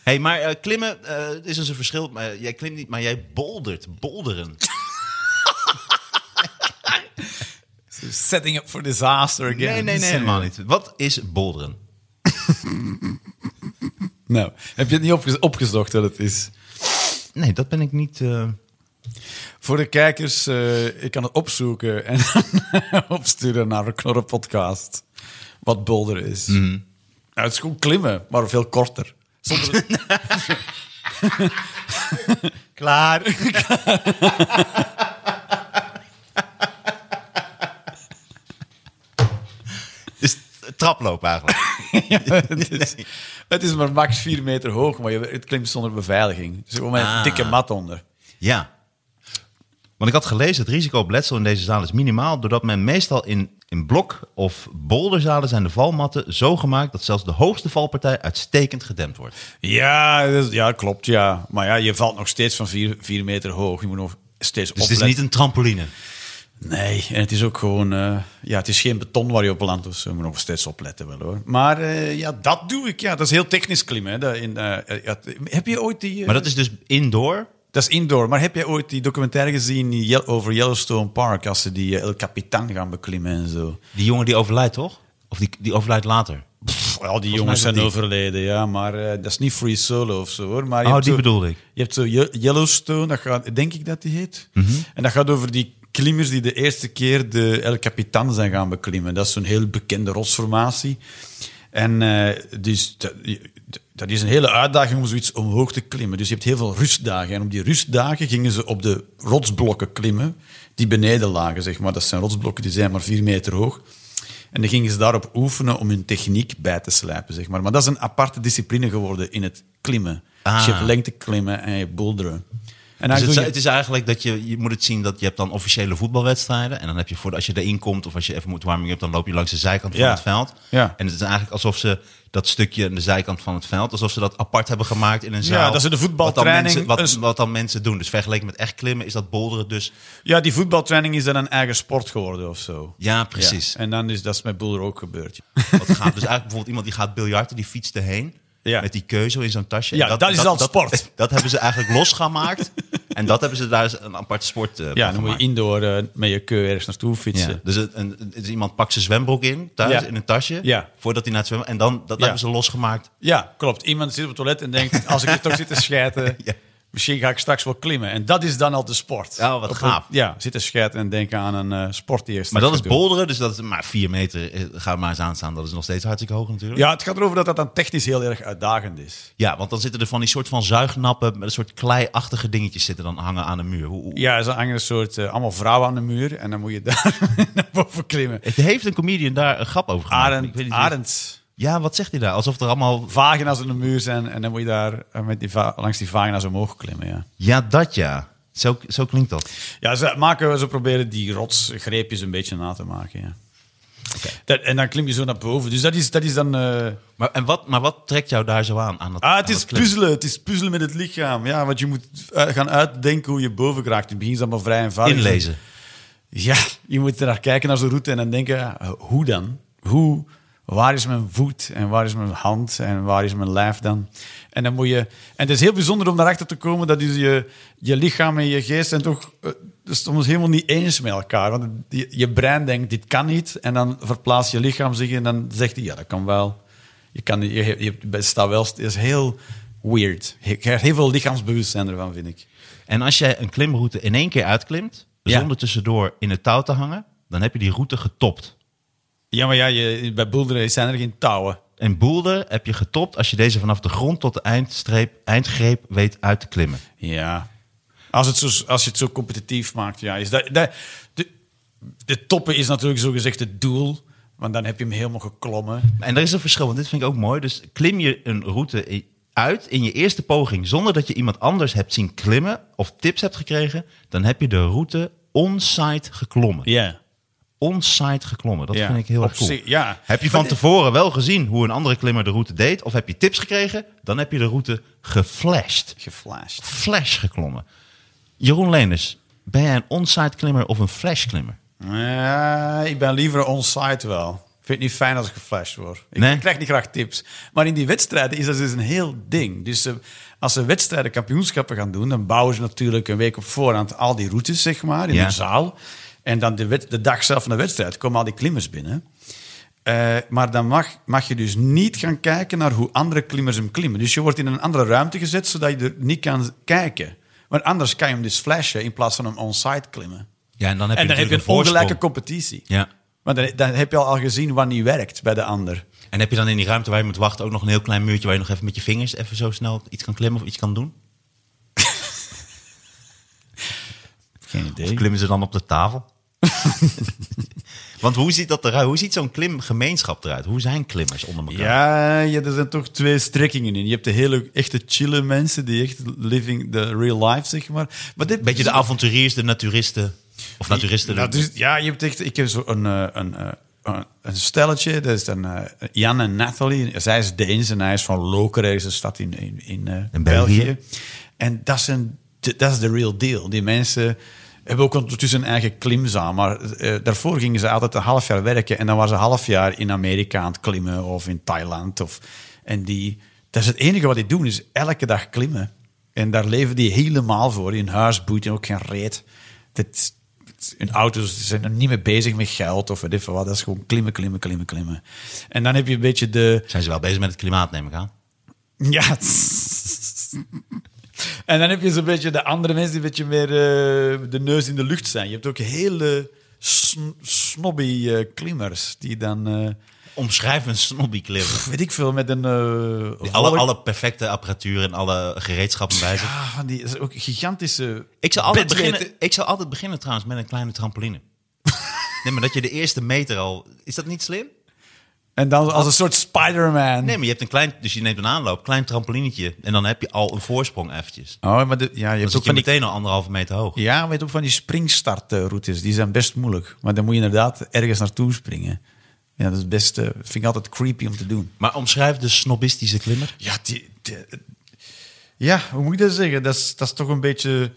D: Hey, maar eh, klimmen eh, het is dus een verschil. Maar jij klimt niet, maar jij boldert. Bolderen.
B: Setting up for disaster again.
D: Nee, nee, nee, helemaal niet. Wat is bolderen?
B: Nou, heb je het niet opge- opgezocht wat het is?
D: Nee, dat ben ik niet. eh,
B: Voor de kijkers, eh, ik kan het opzoeken en opsturen naar de Knorren podcast. Wat bolder is. Nou, het is gewoon klimmen, maar veel korter. Zonder...
D: Klaar. dus traploop eigenlijk.
B: het, is, het is maar max 4 meter hoog, maar je, het klimt zonder beveiliging. Het is gewoon met een
D: Ah.
B: dikke mat onder.
D: Ja. Want ik had gelezen, het risico op letsel in deze zaal is minimaal... doordat men meestal in, in blok- of bolderzalen zijn de valmatten zo gemaakt... dat zelfs de hoogste valpartij uitstekend gedempt wordt.
B: Ja, dat is- ja, klopt, ja. Maar ja, je valt nog steeds van vier, vier meter hoog. Je moet nog steeds
D: Dus het is
B: opletten.
D: niet een trampoline.
B: Nee, en het is ook gewoon... eh, ja, het is geen beton waar je op landt, dus je moet nog steeds opletten wel, hoor. Maar eh, ja, dat doe ik, ja. Dat is heel technisch klimmen, hè. Dat in, eh, eh, ja, heb je ooit die... eh,
D: Maar dat is dus indoor.
B: dat is indoor, maar heb jij ooit die documentaire gezien die Ye- over Yellowstone Park... als ze die eh, El Capitan gaan beklimmen en zo?
D: Die jongen die overlijdt, toch? Of die, die overlijdt later.
B: Pff, al die jongens
D: is
B: zijn
D: dat die.
B: overleden, ja. Maar eh, dat is niet Free Solo of zo, hoor. Maar je
D: Oh,
B: hebt
D: die
B: zo-
D: bedoelde ik.
B: Je hebt zo Ye- Yellowstone, dat gaat, denk ik dat die heet. En dat gaat over die klimmers die de eerste keer de El Capitan zijn gaan beklimmen. Dat is zo'n heel bekende rotsformatie. En eh, dus, dat, dat is een hele uitdaging om zoiets omhoog te klimmen. Dus je hebt heel veel rustdagen. En op die rustdagen gingen ze op de rotsblokken klimmen, die beneden lagen, zeg maar. Dat zijn rotsblokken, die zijn maar vier meter hoog. En dan gingen ze daarop oefenen om hun techniek bij te slijpen, zeg maar. Maar dat is een aparte discipline geworden in het klimmen.
D: Ah.
B: Dus je hebt lengte klimmen en je hebt boulderen. En
D: Dus
B: dan doe
D: het, is-
B: je-
D: het is eigenlijk dat je, je moet het zien dat je hebt dan officiële voetbalwedstrijden. En dan heb je voor als je erin komt of als je even moet warming up, dan loop je langs de zijkant van
B: Ja.
D: het veld.
B: Ja.
D: En het is eigenlijk alsof ze dat stukje aan de zijkant van het veld, alsof ze dat apart hebben gemaakt in een zaal.
B: dat ze de
D: Wat dan
B: voetbaltraining-
D: mensen- Wat,
B: een-
D: wat dan mensen doen. Dus vergeleken met echt klimmen is dat bolderen dus.
B: ja, die voetbaltraining is dan een eigen sport geworden of zo.
D: Ja, precies.
B: Ja. En dan is dat is met Boelder ook gebeurd.
D: Wat gaat, dus eigenlijk bijvoorbeeld iemand die gaat biljarten, die fietst erheen.
B: Ja.
D: Met die keuze in zo'n tasje.
B: Ja,
D: En
B: dat is dan sport.
D: Dat hebben ze eigenlijk losgemaakt. en dat hebben ze daar eens een apart sport eh, van
B: Ja, dan moet je
D: gemaakt.
B: indoor eh, met je keur ergens naartoe fietsen.
D: Ja. Dus het- een, het is iemand pakt zijn zwembroek in, thuis,
B: Ja.
D: in een tasje.
B: Ja.
D: Voordat hij naar het zwemmen... En dan, dat
B: Ja.
D: hebben ze losgemaakt.
B: Ja, klopt. Iemand zit op het toilet en denkt, als ik hier toch zit te schijten,
D: Ja.
B: misschien ga ik straks wel klimmen. En dat is dan al de sport.
D: Ja, wat
B: Op-
D: gaaf.
B: Ja, zit te schijten en denken aan een eh, sport die je
D: Maar
B: straks
D: dat is
B: gaat doen.
D: bolderen, dus dat is maar vier meter. eh, Ga maar eens aanstaan, dat is nog steeds hartstikke hoog natuurlijk.
B: Ja, het gaat erover dat dat dan technisch heel erg uitdagend is.
D: Ja, want dan zitten er van die soort van zuignappen... met een soort kleiachtige dingetjes zitten dan hangen aan de muur. Hoe- hoe-
B: Ja, ze hangen een soort, eh, allemaal vrouwen aan de muur en dan moet je daar naar boven klimmen.
D: Het heeft een comedian daar een grap over gemaakt. Ik weet
B: Arend,
D: niet-
B: Arend,
D: Ja, wat zegt hij daar? Alsof er allemaal...
B: vagina's aan de muur zijn en dan moet je daar eh, met die va- langs die vagina's omhoog klimmen, ja.
D: Ja, dat ja. Zo, zo klinkt dat.
B: Ja, ze, maken, ze proberen die rotsgreepjes een beetje na te maken. Ja. Dat, en dan klim je zo naar boven. Dus dat is, dat is dan. eh,
D: Maar, en wat, maar wat trekt jou daar zo aan? aan dat,
B: ah, het
D: aan
B: is
D: dat klimmen?
B: puzzelen. Het is puzzelen met het lichaam. Ja, want je moet eh, gaan uitdenken hoe je boven geraakt. In het begin is dat maar vrij eenvoudig.
D: Inlezen.
B: Ja, je moet er naar kijken naar zo'n route en dan denken: ja, hoe dan? Hoe? Waar is mijn voet en waar is mijn hand en waar is mijn lijf dan? En dan moet je. En het is heel bijzonder om daarachter te komen dat is je, je lichaam en je geest zijn toch eh, soms helemaal niet eens met elkaar. Want het- je, je brein denkt: dit kan niet. En dan verplaatst je lichaam zich en dan zegt hij: ja, dat kan wel. Je, kan, niet- je, je bent- staat wel. Het is heel weird. Je krijgt heel veel lichaamsbewustzijn ervan, vind ik.
D: En als jij een klimroute in één keer uitklimt,
B: Ja.
D: zonder tussendoor in het touw te hangen, dan heb je die route getopt.
B: Ja, maar ja, je, bij boulderen zijn er geen touwen.
D: In Boulder heb je getopt als je deze vanaf de grond tot de eindstreep, eindgreep weet uit te klimmen.
B: Ja. Als, het zo, als je het zo competitief maakt, ja. Is dat, dat, de, de toppen is natuurlijk zogezegd het doel. Want dan heb je hem helemaal geklommen.
D: En er is een verschil, want dit vind ik ook mooi. Dus klim je een route i- uit in je eerste poging zonder dat je iemand anders hebt zien klimmen of tips hebt gekregen, dan heb je de route on-site geklommen.
B: Ja.
D: On-site geklommen, dat
B: Ja.
D: vind ik heel erg
B: Op
D: cool.
B: zich, ja. Eh,
D: Heb je van tevoren wel gezien hoe een andere klimmer de route deed of heb je tips gekregen, dan heb je de route geflasht.
B: Geflasht.
D: flash geklommen. Jeroen Leners, ben jij een onsite klimmer of een flash klimmer?
B: Ja, ik ben liever onsite wel. Ik vind het niet fijn als ik geflasht word. Ik
D: Nee?
B: krijg niet graag tips. Maar in die wedstrijden is dat dus een heel ding. Dus eh, als ze wedstrijden, kampioenschappen gaan doen... dan bouwen ze natuurlijk een week op voorhand al die routes, zeg maar, in
D: Ja.
B: een zaal. En dan de, wed- de dag zelf van de wedstrijd komen al die klimmers binnen. Eh, maar dan mag, mag je dus niet gaan kijken naar hoe andere klimmers hem klimmen. Dus je wordt in een andere ruimte gezet, zodat je er niet kan kijken. Want anders kan je hem dus flashen in plaats van hem onsite klimmen
D: Ja, en dan heb
B: en dan heb je een ongelijke competitie.
D: Ja.
B: Maar dan, dan heb je al, al gezien wat niet werkt bij de ander.
D: En heb je dan in die ruimte waar je moet wachten ook nog een heel klein muurtje waar je nog even met je vingers even zo snel iets kan klimmen of iets kan doen?
B: Geen idee.
D: Of klimmen ze dan op de tafel? Want hoe ziet, dat eruit? hoe ziet zo'n klimgemeenschap eruit? Hoe zijn klimmers onder elkaar?
B: Ja, ja, er zijn toch twee strekkingen in. Je hebt de hele echte chille mensen die echt living the real life, zeg maar. maar dit,
D: Beetje de avonturiers, de naturisten. Of naturisten.
B: Nou, dus- ja, je hebt echt... Ik heb zo een, eh, een, eh, een, een stelletje. Dat is dan eh, Jan en Nathalie. Zij is Deens en hij is van Lokeren. Dat is een stad in, in, in, eh,
D: In België.
B: België. En dat is, een, dat is de real deal. Die mensen hebben ook ondertussen een eigen klimzaal. Maar eh, daarvoor gingen ze altijd een half jaar werken. En dan waren ze een half jaar in Amerika aan het klimmen. Of in Thailand. Of, en die, dat is het enige wat die doen, is elke dag klimmen. En daar leven die helemaal voor. In huis boeit en ook geen reet. Dat, in auto's ze zijn er niet mee bezig met geld of weet ik veel wat. Dat is gewoon klimmen, klimmen, klimmen, klimmen. En dan heb je een beetje de...
D: Zijn ze wel bezig met het klimaat, neem ik aan?
B: Ja. En dan heb je zo'n beetje de andere mensen die een beetje meer eh, de neus in de lucht zijn. Je hebt ook hele sn- snobby eh, klimmers die dan, eh,
D: Omschrijf een snobby klimmer.
B: weet ik veel, met een... eh,
D: Alle,
B: wolk-
D: alle perfecte apparatuur en alle gereedschappen bij zich.
B: Ah, van die is ook gigantische...
D: Ik zou, altijd
B: bedweten-
D: beginnen, ik zou altijd beginnen trouwens met een kleine trampoline. nee, maar dat je de eerste meter al... Is dat niet slim?
B: En dan als een soort Spider-Man.
D: Nee, maar je hebt een klein, dus je neemt een aanloop, klein trampolinetje. En dan heb je al een voorsprong eventjes.
B: Oh, maar de- ja, je hebt
D: Dan zit
B: ook
D: je
B: van die,
D: meteen al anderhalve meter hoog.
B: ja, maar je hebt ook van die springstartroutes. Die zijn best moeilijk. Maar dan moet je inderdaad ergens naartoe springen. Ja, dat is best, eh, vind ik altijd creepy om te doen.
D: Maar omschrijf de snobistische klimmer.
B: Ja, die, die-
G: Ja,
B: hoe moet ik dat zeggen? Dat is, dat is toch een beetje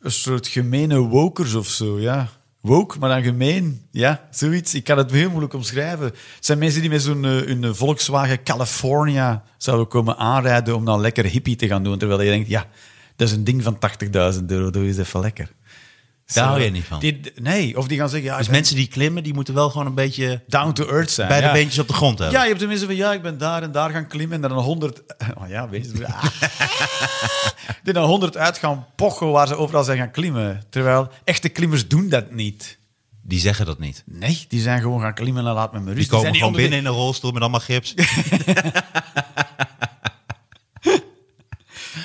B: een soort gemene wokers of zo, ja. Woke, maar dan gemeen. Ja, zoiets. Ik kan het heel moeilijk omschrijven. Het zijn mensen die met zo'n eh, hun Volkswagen California zouden komen aanrijden om dan lekker hippie te gaan doen. Terwijl je denkt, ja, dat is een ding van 80.000 euro, doe eens even lekker.
D: Daar hou
B: Zo.
D: je niet van.
B: Die, nee, of die gaan zeggen, ja,
D: Dus
B: ik ben
D: mensen die klimmen, die moeten wel gewoon een beetje
B: down to earth zijn.
D: bij de
B: ja.
D: beentjes op de grond hebben.
B: Ja, je hebt tenminste van ja, ik ben daar en daar gaan klimmen en dan honderd. Oh ja, weet je. Ah. die dan honderd uit gaan pochen waar ze overal zijn gaan klimmen. Terwijl echte klimmers doen dat niet.
D: Die zeggen dat niet. Die,
B: Nee, die zijn gewoon gaan klimmen en laat me maar rust.
D: komen
B: zijn niet
D: gewoon
B: onder de-
D: binnen in een rolstoel met allemaal gips.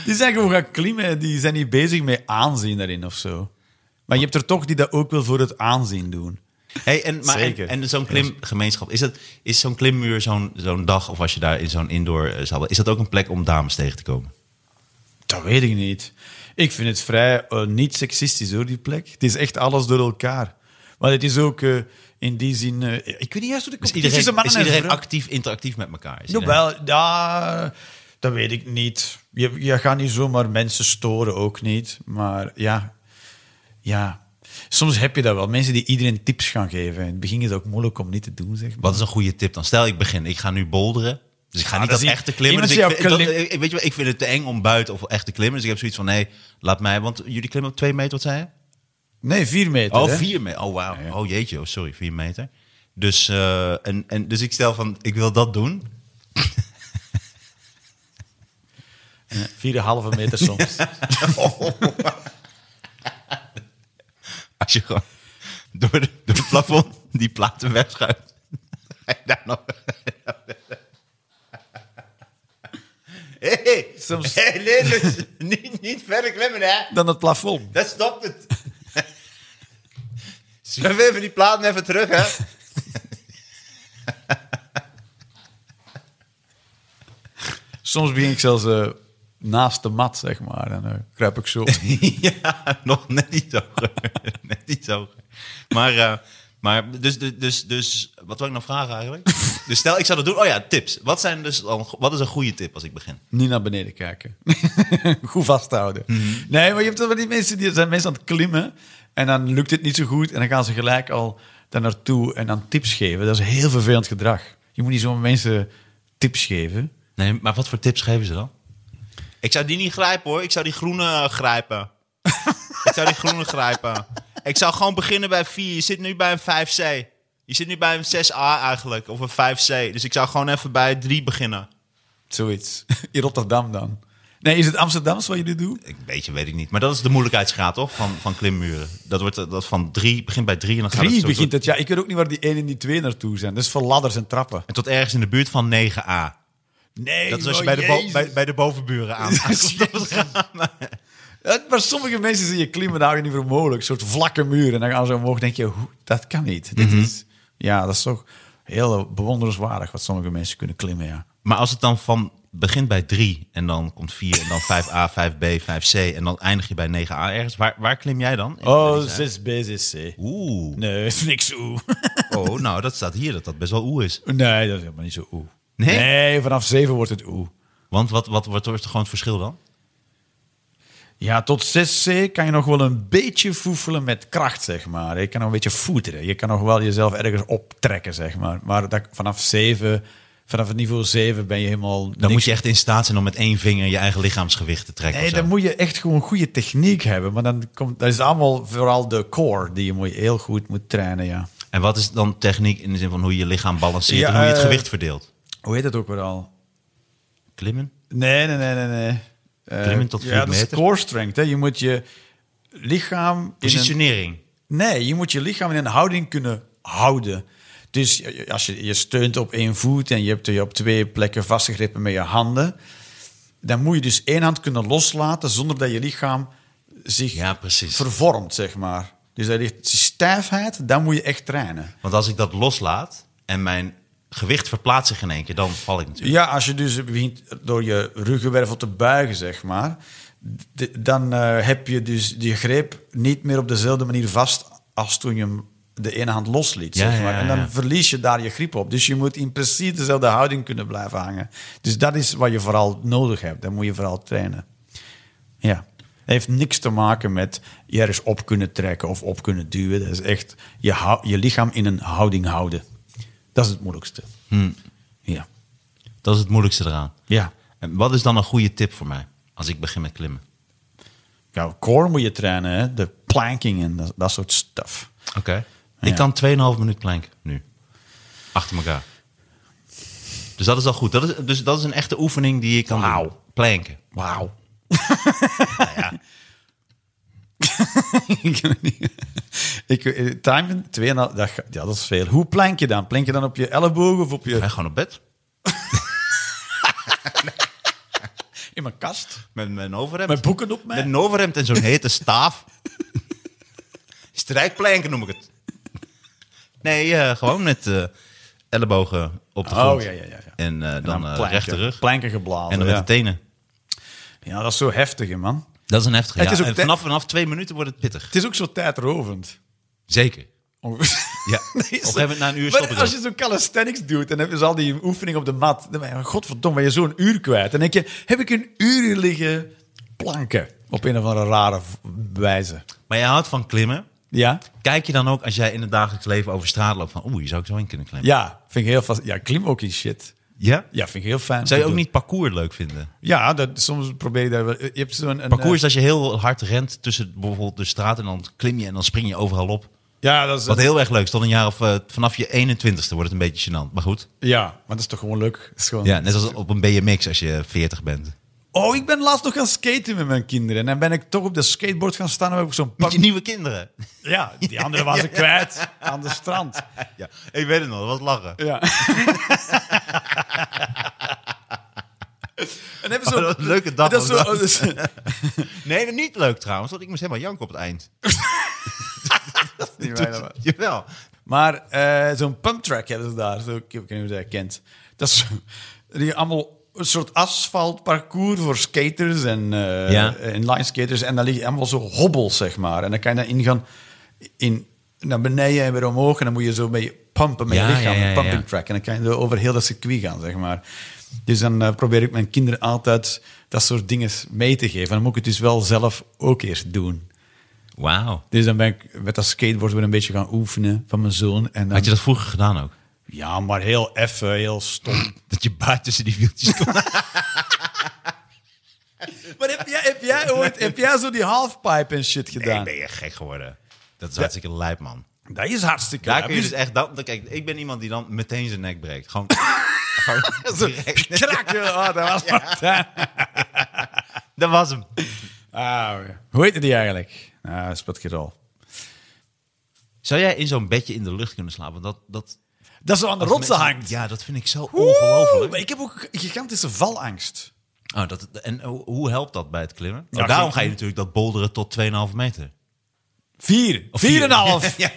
B: die zijn gewoon gaan klimmen. Die zijn niet bezig met aanzien daarin of zo. Maar je hebt er toch die dat ook wel voor het aanzien doen.
D: Hey, en, maar,
B: Zeker.
D: En, en zo'n klimgemeenschap, is, dat, is zo'n klimmuur zo'n zo'n dag of als je daar in zo'n indoor eh, zaal bent, is dat ook een plek om dames tegen te komen?
B: Dat weet ik niet. Ik vind het vrij eh, niet seksistisch hoor, die plek. Het is echt alles door elkaar. Maar het is ook eh, in die zin. eh, ik weet niet juist hoe de
D: Is
B: competitie
D: iedereen,
B: tussen mannen en
D: is iedereen
B: vrouwen-
D: actief, interactief met elkaar? Is iedereen-
B: Jawel, ja, dat weet ik niet. Je, je gaat niet zomaar mensen storen, ook niet. Maar ja, ja, soms heb je dat wel. Mensen die iedereen tips gaan geven. In het begin is het ook moeilijk om niet te doen, zeg maar.
D: Wat is een goede tip dan? Stel, ik begin. Ik ga nu bolderen. Dus ik ga
B: Ja,
D: niet
B: dat
D: dat,
B: is i-
D: echte
B: iemand
D: klimmen. Dus ik,
B: die jou
D: vind- dat-
B: klim-
D: ik- weet je, wel, ik vind het te eng om buiten of echte klimmen. Dus ik heb zoiets van, nee, laat mij. Want jullie klimmen op twee meter, wat zei je?
B: Nee, vier meter.
D: Oh,
B: hè?
D: vier meter. Oh, wauw. Oh, jeetje. Oh, sorry. Vier meter. Dus, eh, en, en, dus ik stel van, ik wil dat doen.
B: Vier en halve meter soms.
D: Als je gewoon door, de, door het plafond die platen wegschuift. Ga je daar nog... Hé, hey,
B: Soms-
D: hey, Linus, niet, niet verder klimmen, hè?
B: Dan het plafond.
D: Dat stopt het. Schrijf even die platen even terug, hè?
B: Soms begin ik zelfs eh, naast de mat, zeg maar. Dan eh, kruip ik zo. op.
D: ja, nog net iets hoger. net iets hoger. Maar, eh, maar dus, dus- dus, dus, wat wil ik nou vragen eigenlijk? dus stel, ik zou dat doen. Oh ja, tips. Wat, zijn dus dan, wat is een goede tip als ik begin?
B: Niet naar beneden kijken. goed vasthouden.
D: Mhm.
B: Nee, maar je hebt wel die mensen die zijn mensen aan het klimmen. En dan lukt het niet zo goed. En dan gaan ze gelijk al daar naartoe en dan tips geven. Dat is heel vervelend gedrag. Je moet niet zo'n mensen tips geven.
D: Nee, maar wat voor tips geven ze dan? Ik zou die niet grijpen, hoor. Ik zou die groene grijpen. ik zou die groene grijpen. Ik zou gewoon beginnen bij 4. Je zit nu bij een 5C. Je zit nu bij een 6A eigenlijk, of een 5C. Dus ik zou gewoon even bij 3 beginnen.
B: Zoiets. In Rotterdam dan. Nee, is het Amsterdams wat jullie doen?
D: Ik, weet je, weet ik niet. Maar dat is de moeilijkheidsgraad, toch? Van, van klimmuren. Dat, wordt, dat van drie, begint bij drie en dan gaat het
B: Drie
D: zo
B: begint het.
D: tot,
B: Ja, ik weet ook niet waar die 1 en die 2 naartoe zijn. Dat is voor ladders en trappen.
D: en tot ergens in de buurt van 9a.
B: Nee,
D: Dat is als je bij de, bo- bij, bij de bovenburen aankomt. Dat is raar.
B: Ja, Maar sommige mensen zie je klimmen, daar hou je niet voor mogelijk. Een soort vlakke muren. En dan gaan ze omhoog denk je, hoe, dat kan niet. Dit is, ja, dat is toch heel bewonderenswaardig wat sommige mensen kunnen klimmen, ja.
D: Maar als het dan van begint bij drie en dan komt vier en dan 5a, 5b, 5c en dan eindig je bij 9a ergens. Waar, waar klim jij dan?
B: Oh, 6B, 6C.
D: Oeh.
B: Nee, is niks oeh.
D: Oh, nou, dat staat hier dat dat best wel oeh is.
B: Nee, dat is helemaal niet zo oeh.
D: Nee?
B: vanaf 7 wordt het oeh.
D: Want wat, wat wordt er gewoon het verschil dan?
B: Ja, tot 6C kan je nog wel een beetje foefelen met kracht, zeg maar. Je kan nog een beetje voeteren. Je kan nog wel jezelf ergens optrekken, zeg maar. Maar dat, vanaf 7, vanaf het niveau 7 ben je helemaal...
D: Dan moet je echt in staat zijn om met één vinger je eigen lichaamsgewicht te trekken.
B: Nee,
D: of zo.
B: dan moet je echt gewoon goede techniek hebben. Maar dan komt, dat is allemaal vooral de core die je moet, heel goed moet trainen, ja.
D: En wat is dan techniek in de zin van hoe je je lichaam balanceert
B: Ja,
D: en hoe je het
B: eh,
D: gewicht verdeelt?
B: Hoe heet dat ook weer al?
D: Klimmen?
B: Nee, nee, nee, nee, nee. Eh,
D: Klimmen tot vier
B: ja, dat is
D: meter?
B: core strength, hè. Je moet je lichaam... in een-
D: Positionering.
B: Nee, je moet je lichaam in een houding kunnen houden. Dus je- als je, je steunt op één voet en je hebt je op twee plekken vastgegrepen met je handen, dan moet je dus één hand kunnen loslaten zonder dat je lichaam zich
D: Ja, precies.
B: vervormt, zeg maar. Dus dat ligt die stijfheid, dan moet je echt trainen.
D: Want als ik dat loslaat en mijn gewicht verplaatst zich in één keer, dan val ik natuurlijk.
B: Ja, als je dus begint door je ruggenwervel te buigen, zeg maar, d- dan eh, heb je dus die greep niet meer op dezelfde manier vast als toen je hem de ene hand losliet,
D: Ja,
B: zeg maar.
D: ja,
B: En dan
D: ja.
B: verlies je daar je grip op. Dus je moet in precies dezelfde houding kunnen blijven hangen. Dus dat is wat je vooral nodig hebt. Dan moet je vooral trainen. Ja. Het heeft niks te maken met je ergens op kunnen trekken of op kunnen duwen. Dat is echt je, hou- je lichaam in een houding houden. Dat is het moeilijkste.
D: Hmm.
B: Ja.
D: Dat is het moeilijkste eraan.
B: Ja.
D: En wat is dan een goede tip voor mij als ik begin met klimmen?
B: Ja, core moet je trainen, hè? de planking en dat, dat soort stuff.
D: Oké.
B: Ja.
D: Ik kan 2,5 minuut plank nu. Achter elkaar. Dus dat is al goed. Dat is, dus dat is een echte oefening die je kan doen.
B: Wauw.
D: Planken.
B: Wauw. Ik weet timen, twee en een half- dat, ga- ja, dat is veel. Hoe plank je dan? Plank je dan op je elleboog of op
D: Ga je
B: je...
D: gewoon op bed?
B: In mijn kast?
D: Met mijn overhemd.
B: Met boeken op mij?
D: Met een overhemd en zo'n hete staaf. Strijkplanken noem ik het. Nee, eh, gewoon met eh, ellebogen op de
B: Oh,
D: grond.
B: ja, ja, ja, ja.
D: En eh, dan, eh
B: planken.
D: rechterrug.
B: Planken geblazen,
D: En dan
B: ja.
D: met de tenen.
B: Ja, dat is zo heftig, hè, man.
D: Dat is een heftige.
B: Het
D: ja.
B: is ook
D: en
B: te-
D: vanaf, vanaf twee minuten wordt het pittig.
B: Het is ook zo tijdrovend.
D: Zeker.
B: Onge-
D: Ja. Op een gegeven moment na een uur stoppen.
B: Maar als je zo'n calisthenics doet en heb je dus al die oefening op de mat, dan ben je, godverdomme, ben je zo'n uur kwijt. Dan denk je, heb ik een uur hier liggen planken op een of andere rare v- wijze.
D: Maar je houdt van klimmen.
B: Ja?
D: Kijk je dan ook als jij in het dagelijks leven over straat loopt van... oeh, hier zou ik zo in kunnen klimmen?
B: Ja, vind ik heel vast. Ja, klim ook in shit.
D: Ja?
B: Ja, vind ik heel fijn.
D: Zou
B: te
D: je ook
B: doen.
D: niet parcours leuk vinden?
B: Ja, dat, soms probeer je daar wel. Je hebt zo'n een,
D: Parcours is
B: eh,
D: als je heel hard rent tussen bijvoorbeeld de straat... en dan klim je en dan spring je overal op.
B: ja, dat is
D: Wat heel erg leuk. Tot een jaar of eh, vanaf je 21ste wordt het een beetje gênant. Maar goed.
B: Ja, maar dat is toch gewoon leuk. Dat Is gewoon...
D: Ja, net als op een BMX als je 40 bent.
B: Oh, ik ben laatst nog gaan skaten met mijn kinderen. En dan ben ik toch op de skateboard gaan staan en heb ik zo'n pak.
D: Met je nieuwe kinderen.
B: Ja, die andere was ik kwijt aan de strand.
D: Ja, ik weet het nog. Dat was lachen.
B: Ja. en hebben ze
D: Oh, dat was een leuke dag
B: Dat is
D: was
B: zo, dat is-
D: Nee, dat niet leuk trouwens. Want ik moest helemaal janken op het eind.
B: niet waar, dat was-
D: Jawel.
B: maar eh, zo'n pumptrack hebben ze daar. Zo, ik weet niet of je dat kent. Dat is zo- die allemaal een soort asfaltparcours voor skaters en eh
D: Ja.
B: inline skaters. En daar liggen allemaal zo hobbels, zeg maar. En dan kan je daarin gaan in, naar beneden en weer omhoog. En dan moet je zo mee pumpen met
D: Ja,
B: je lichaam.
D: ja, ja,
B: een pumping
D: ja.
B: track. En dan kan je er over heel dat circuit gaan, zeg maar. Dus dan eh, probeer ik mijn kinderen altijd dat soort dingen mee te geven. En dan moet ik het dus wel zelf ook eerst doen.
D: Wauw.
B: Dus dan ben ik met dat skateboard weer een beetje gaan oefenen van mijn zoon. En dan,
D: Had je dat vroeger gedaan ook?
B: Ja, maar heel effen, heel stom.
D: Dat je baard tussen die wieltjes komt.
B: maar heb jij, heb jij ooit heb jij zo die halfpipe en shit gedaan?
D: Ik ben je gek geworden. Dat is hartstikke lijp, man.
B: Dat is hartstikke
D: Daar
B: leuk.
D: kun je dus echt... Dan, dan- kijk, ik ben iemand die dan meteen zijn nek breekt. Gewoon... gewoon direct.
B: Krak, joh. Oh, dat was
D: Dat was hem.
B: Ah, ja. Hoe heette die eigenlijk? Ah, Spatkerol.
D: Zou jij in zo'n bedje in de lucht kunnen slapen? Dat, dat,
B: Dat zo aan de rotsen
D: mensen-
B: hangt.
D: Ja, dat vind ik zo
B: Oeh, maar
D: ongelooflijk.
B: Ik heb ook gigantische valangst.
D: Oh, dat, en hoe- hoe helpt dat bij het klimmen?
B: Ja,
D: Oh, daarom
B: geen-
D: ga je natuurlijk dat bolderen tot 2,5 meter.
B: Vier.
D: Of
B: vier en een
D: vier.
B: half. ja,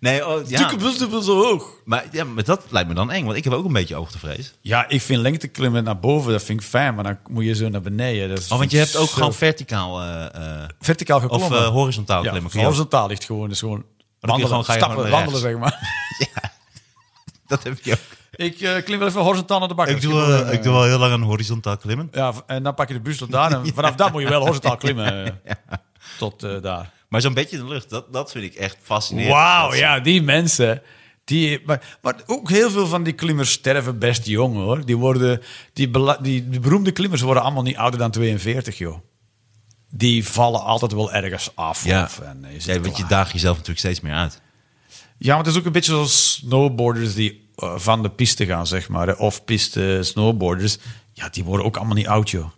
D: Nee, oh, ja.
B: zo hoog.
D: Maar, ja, maar dat lijkt me dan eng, want ik heb ook een beetje oogtevrees. Oh,
B: Ja, ik vind lengteklimmen naar boven, dat vind ik fijn. Maar dan moet je zo naar beneden. Dat
D: Oh, want je hebt ook gewoon
B: ver-
D: verticaal eh, eh,
B: verticaal
D: of
B: geklommen.
D: eh, horizontaal
B: Ja,
D: klimmen. kun je ook.
B: horizontaal ligt gewoon. Dus gewoon
D: kun je
B: wandelen,
D: gewoon- ga je
B: stappen,
D: gewoon naar
B: wandelen, zeg maar.
D: Dat heb ik ook.
B: ik eh, klim wel even horizontaal naar de bakker.
D: Ik doe, eh, ik doe wel heel lang een horizontaal klimmen.
B: Ja, v- en dan pak je de bus tot daar. En vanaf daar moet je wel horizontaal klimmen. eh, Tot eh, daar.
D: Maar zo'n beetje in de lucht, dat, dat vind ik echt fascinerend.
B: Wauw,
D: Dat-
B: ja, die mensen. Die, maar, maar ook heel veel van die klimmers sterven best jong, hoor. Die, worden, die, bela- die, die beroemde klimmers worden allemaal niet ouder dan 42, joh. Die vallen altijd wel ergens af.
D: Ja,
B: of, en is
D: Ja,
B: het
D: want je
B: klaar.
D: daagt jezelf natuurlijk steeds meer uit.
B: ja, maar het is ook een beetje zoals snowboarders die eh, van de piste gaan, zeg maar. hè. Of piste snowboarders. Ja, die worden ook allemaal niet oud, joh.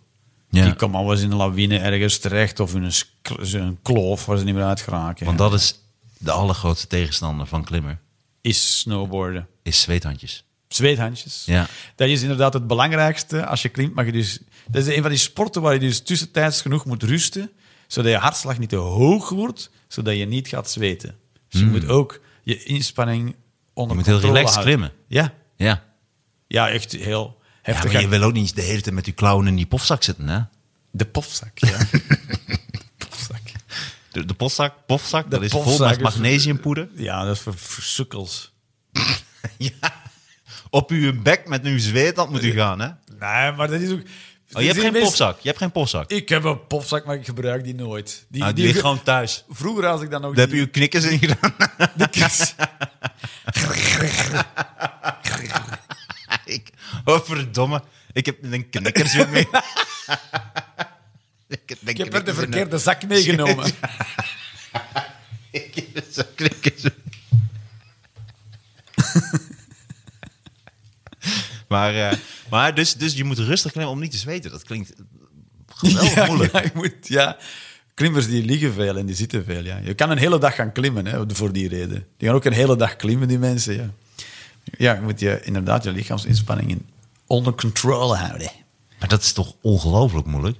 D: Ja.
B: Die komen wel eens in een lawine ergens terecht of in een, sk- een kloof waar ze niet meer uit geraken.
D: Want dat is de allergrootste tegenstander van klimmer,
B: is snowboarden.
D: is zweethandjes.
B: Zweethandjes.
D: Ja.
B: Dat is inderdaad het belangrijkste. Als je klimt, mag je dus... Dat is een van die sporten waar je dus tussentijds genoeg moet rusten, zodat je hartslag niet te hoog wordt, zodat je niet gaat zweten. Dus je moet ook je inspanning onder
D: Hmm. Je moet heel
B: controle
D: relaxed
B: houden.
D: klimmen.
B: Ja.
D: Ja.
B: ja, echt heel
D: Ja,
B: heftig.
D: maar je wil ook niet de hele tijd met die clown in die pofzak zitten, hè?
B: De pofzak, ja. de pofzak.
D: De, de postzak, pofzak, dat is vol
B: pofzak
D: met
B: is-
D: magnesiumpoeder.
B: Ja, dat is voor, voor sukkels.
D: Ja. Op uw bek met uw zweet, dat moet u gaan, hè?
B: Nee, maar dat is ook...
D: Oh, je hebt geen
B: pofzak.
D: pofzak. Je hebt geen pofzak.
B: Ik heb een pofzak, maar ik gebruik die nooit. Die,
D: Ah, die
B: die
D: ligt gewoon thuis.
B: Vroeger had ik dan nog
D: Daar heb
B: die-
D: je uw knikkers in gedaan.
B: de kist.
D: Ik, oh, verdomme. Ik heb een knikkers weer mee. ik
B: Ik heb er de verkeerde zak meegenomen.
D: knikkers. maar, eh, maar dus, dus je moet rustig klimmen om niet te zweten. Dat klinkt geweldig
B: Ja,
D: moeilijk.
B: ja, je moet, ja. Klimmers die liggen veel en die zitten veel. Ja. Je kan een hele dag gaan klimmen hè, voor die reden. Die gaan ook een hele dag klimmen, die mensen. Ja, ja je moet je, inderdaad je lichaamsinspanningen onder controle houden.
D: Maar dat is toch ongelooflijk moeilijk?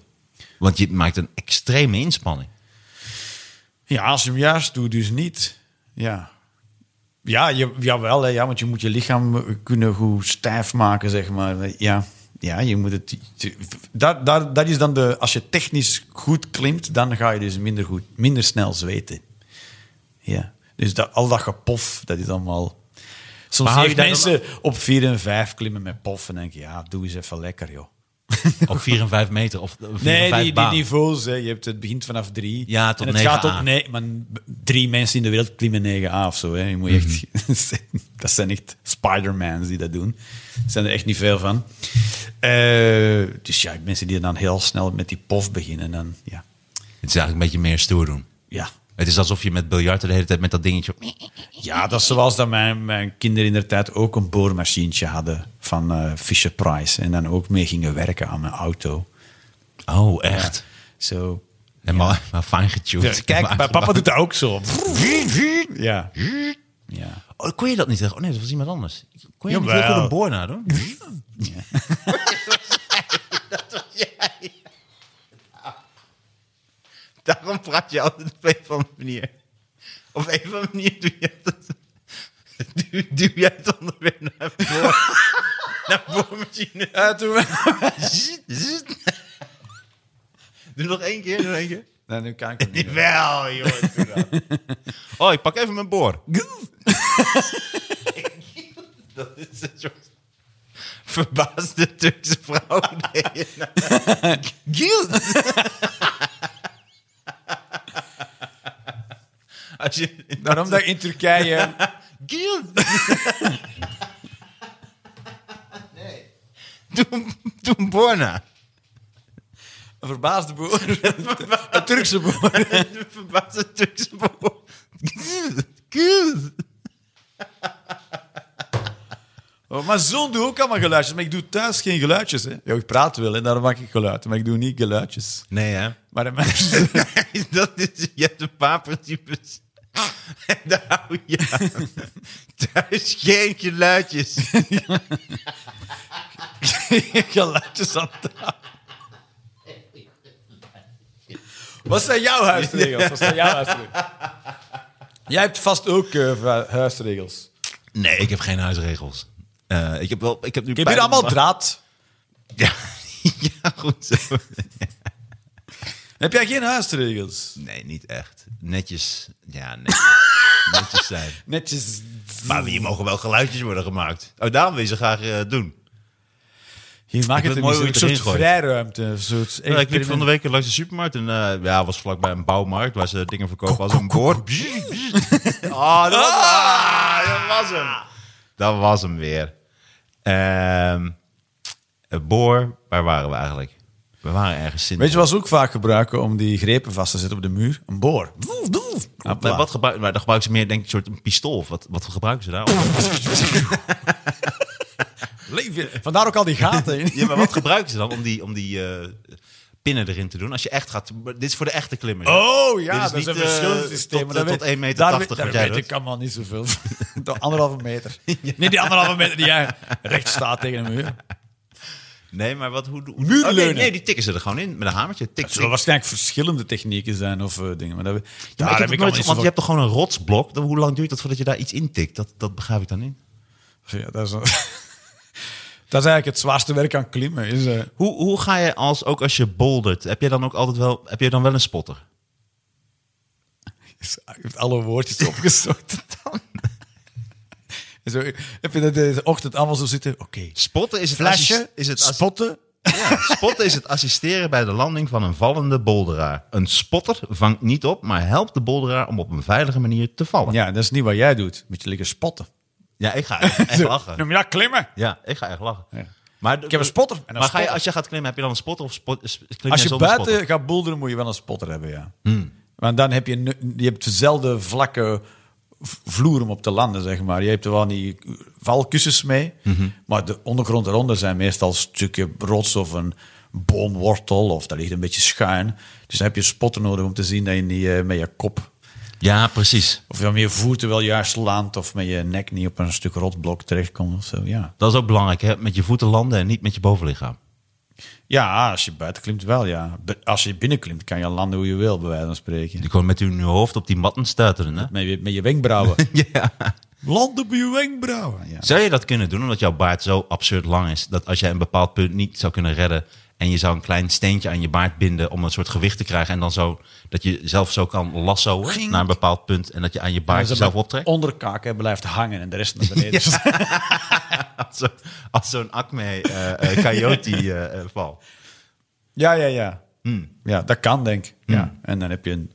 D: Want je maakt een extreme inspanning.
B: Ja, als je hem juist doet, dus niet. Ja, ja je, jawel, hè, ja, want je moet je lichaam kunnen goed stijf maken, zeg maar. Ja, ja je moet het... Dat, dat, dat is dan de... Als je technisch goed klimt, dan ga je dus minder, goed, minder snel zweten. Ja, dus dat, al dat gepof, dat is allemaal... Soms zie
D: Maar hou
B: ik
D: je daar dan-
B: mensen op 4 en 5 klimmen met pof en denk ik, ja, doe eens even lekker, joh.
D: Op 4 en 5 meter of 4 en
B: Nee,
D: 5
B: die, die
D: baan.
B: niveaus. Hè. Je hebt het begint vanaf drie.
D: Ja, tot
B: en het gaat
D: 9A.
B: tot nee, maar drie mensen in de wereld klimmen 9A of zo. Hè. Je moet echt,
D: Mhm.
B: dat zijn echt Spider-Mans die dat doen. Er zijn er echt niet veel van. Eh, dus ja, mensen die dan heel snel met die pof beginnen. Dan, ja.
D: Het is eigenlijk een beetje meer stoer doen.
B: Ja.
D: Het is alsof je met biljarten de hele tijd met dat dingetje...
B: ja, dat is zoals dat mijn, mijn kinderen in de tijd ook een boormachientje hadden van eh, Fisher Price. En dan ook mee gingen werken aan mijn auto.
D: Oh, echt?
B: Zo.
D: En maar, maar fijn getuned.
B: Ja, kijk, bij papa doet dat ook zo.
D: doet...
B: Ja. Ja.
D: Oh, kon je dat niet zeggen? Oh nee, dat was iemand anders. Kon je niet
B: Jawel.
D: heel goed een boor nou, nadoen? Daarom praat je altijd op een of andere manier. Op een of andere manier doe je het, duw, duw jij het onderwerp naar boor, naar boormachine.
B: Eh,
D: Zit, zit. Doe nog één keer, doe nog één keer.
B: Nee, nu kan ik het niet.
D: Wel, jongen. doe dat. Oh, ik pak even mijn boor. dat is een soort verbaasde Turkse vrouw. Nee, nou. Als je...
B: Daarom dat in Turkije...
D: Doe, een- doe een boor na.
B: Een verbaasde boer. Een Turkse boer.
D: De verbaasde Turkse boer. Giel.
B: Oh, maar zo'n doet ook allemaal geluidjes. Maar ik doe thuis geen geluidjes. Hè. Ja, ik praat wel, en daarom maak ik geluiden. Maar ik doe niet geluidjes.
D: Nee, hè?
B: Maar de mensen...
D: Nee, dat is, je hebt een paar principes. En daar hou je aan. Thuis geen geluidjes.
B: geluidjes aan tafel. Wat zijn jouw huisregels? Wat zijn jouw huisregels? Jij hebt vast ook eh, va- huisregels.
D: Nee, ik heb geen huisregels. Eh, ik heb wel... Ik heb nu
B: Ik heb hier allemaal draad.
D: Ja, ja, goed zo.
B: Heb jij geen huisregels?
D: Nee, niet echt. Netjes. Ja, netjes. netjes zijn.
B: Netjes.
D: Maar hier mogen wel geluidjes worden gemaakt. Oh, daarom wil je ze graag eh, doen.
B: Hier maakt
D: Ik
B: het
D: vind het
B: een
D: mooi hoe je
B: mooi soort
D: het erin gooit.
B: vrijruimte. Een soort
D: Ja, ik liep van de week langs de supermarkt en eh ja, was vlakbij een bouwmarkt waar ze dingen verkopen als een boord. Ah, dat, was- ah, dat was hem. Dat was hem weer. Ehm een boor, waar waren we eigenlijk? We waren ergens in.
B: Weet je wat ze ook vaak gebruiken om die grepen vast te zetten op de muur? Een boor.
D: Maar wat gebruik, maar dan gebruiken ze meer denk ik een soort een pistool. Of wat, wat gebruiken ze daar? Of-
B: Leef je- Vandaar ook al die gaten. in.
D: ja, maar wat gebruiken ze dan om die, om die eh, pinnen erin te doen? Als je echt gaat... Dit is voor de echte klimmers.
B: Oh
D: Dit
B: ja,
D: is
B: dat is
D: niet,
B: een
D: eh,
B: verschillend systeem.
D: tot,
B: maar dat
D: eh, tot
B: weet-
D: 1,80 meter
B: daar weet-
D: wat
B: Daar
D: jij
B: weet
D: doet.
B: ik allemaal niet zoveel. De anderhalve meter. Niet die anderhalve meter die jij recht staat tegen een muur.
D: Nee, maar wat, hoe... hoe
B: Muurleunen.
D: Oh, nee, nee, die tikken ze er gewoon in met een hamertje. Tik,
B: Het zullen
D: tik.
B: waarschijnlijk verschillende technieken zijn of eh, dingen. Maar dat, we-
D: Ja, maar ik Nou, heb het
B: allemaal
D: nooit,
B: niet
D: want je
B: zoveel-
D: hebt toch gewoon een rotsblok? Dan, hoe lang duurt dat voordat je daar iets intikt? Dat, dat begrijp ik dan niet.
B: Ja, dat, is, dat is eigenlijk het zwaarste werk aan klimmen. Is, eh,
D: Hoe, hoe ga je als, ook als je bouldert, heb je dan ook altijd wel, heb je dan wel een spotter?
B: is- heeft alle woordjes opgezocht. En zo, heb je dat deze ochtend allemaal zo zitten? Oké.
D: Spotten is het
B: Flashen,
D: assist- is het assi-
B: spotten.
D: ja, spotten is het assisteren bij de landing van een vallende boulderaar. Een spotter vangt niet op, maar helpt de boulderaar om op een veilige manier te vallen. Ja,
B: Ja, dat is niet wat jij doet. Moet je liggen spotten.
D: ik ga echt, echt
B: Zo,
D: lachen.
B: noem je dat klimmen?
D: Ja, ik ga echt lachen.
B: Ja.
D: Maar, de-
B: Ik heb een spotter. En een
D: Maar ga je,
B: spotter.
D: als je gaat klimmen, heb je dan een spotter of spot, s- klim jij
B: Als je
D: zonder
B: buiten
D: spotter?
B: gaat boulderen, moet je wel een spotter hebben, ja. Want dan heb je, nu- je hebt zelden vlakke v- vloer om op te landen, zeg maar. Je hebt er wel die valkussens mee. Maar de ondergrond eronder zijn meestal stukken rots of een boomwortel. Of daar ligt een beetje schuin. Dus dan heb je een spotter nodig om te zien dat je niet eh, met je kop...
D: Ja, precies.
B: Of je met je voeten wel juist landt. Of met je nek niet op een stuk rotblok terechtkomt of zo, ja.
D: Dat is ook belangrijk, hè? met je voeten landen en niet met je bovenlichaam.
B: Ja, als je buiten klimt wel, ja. Be- Als je binnenklimt, kan je landen hoe je wil, bij wijze van spreken.
D: Die gewoon met hun hoofd op die matten stuiteren. Hè?
B: Met je, met je wenkbrauwen.
D: Ja.
B: Landen op je wenkbrauwen. Ja.
D: Zou je dat kunnen doen omdat jouw baard zo absurd lang is dat als jij een bepaald punt niet zou kunnen redden en je zou een klein steentje aan je baard binden om een soort gewicht te krijgen en dan zo dat je zelf zo kan lassoen naar een bepaald punt en dat je aan je baard
B: Als
D: jezelf
B: mijn
D: optrekt?
B: Onderkaak hè, blijft hangen en de rest naar beneden.
D: Als zo- Als zo'n acme eh eh, coyote eh, eh, val.
B: Ja, ja, ja.
D: Hmm.
B: Ja, dat kan denk ik. Ja. En dan heb je een,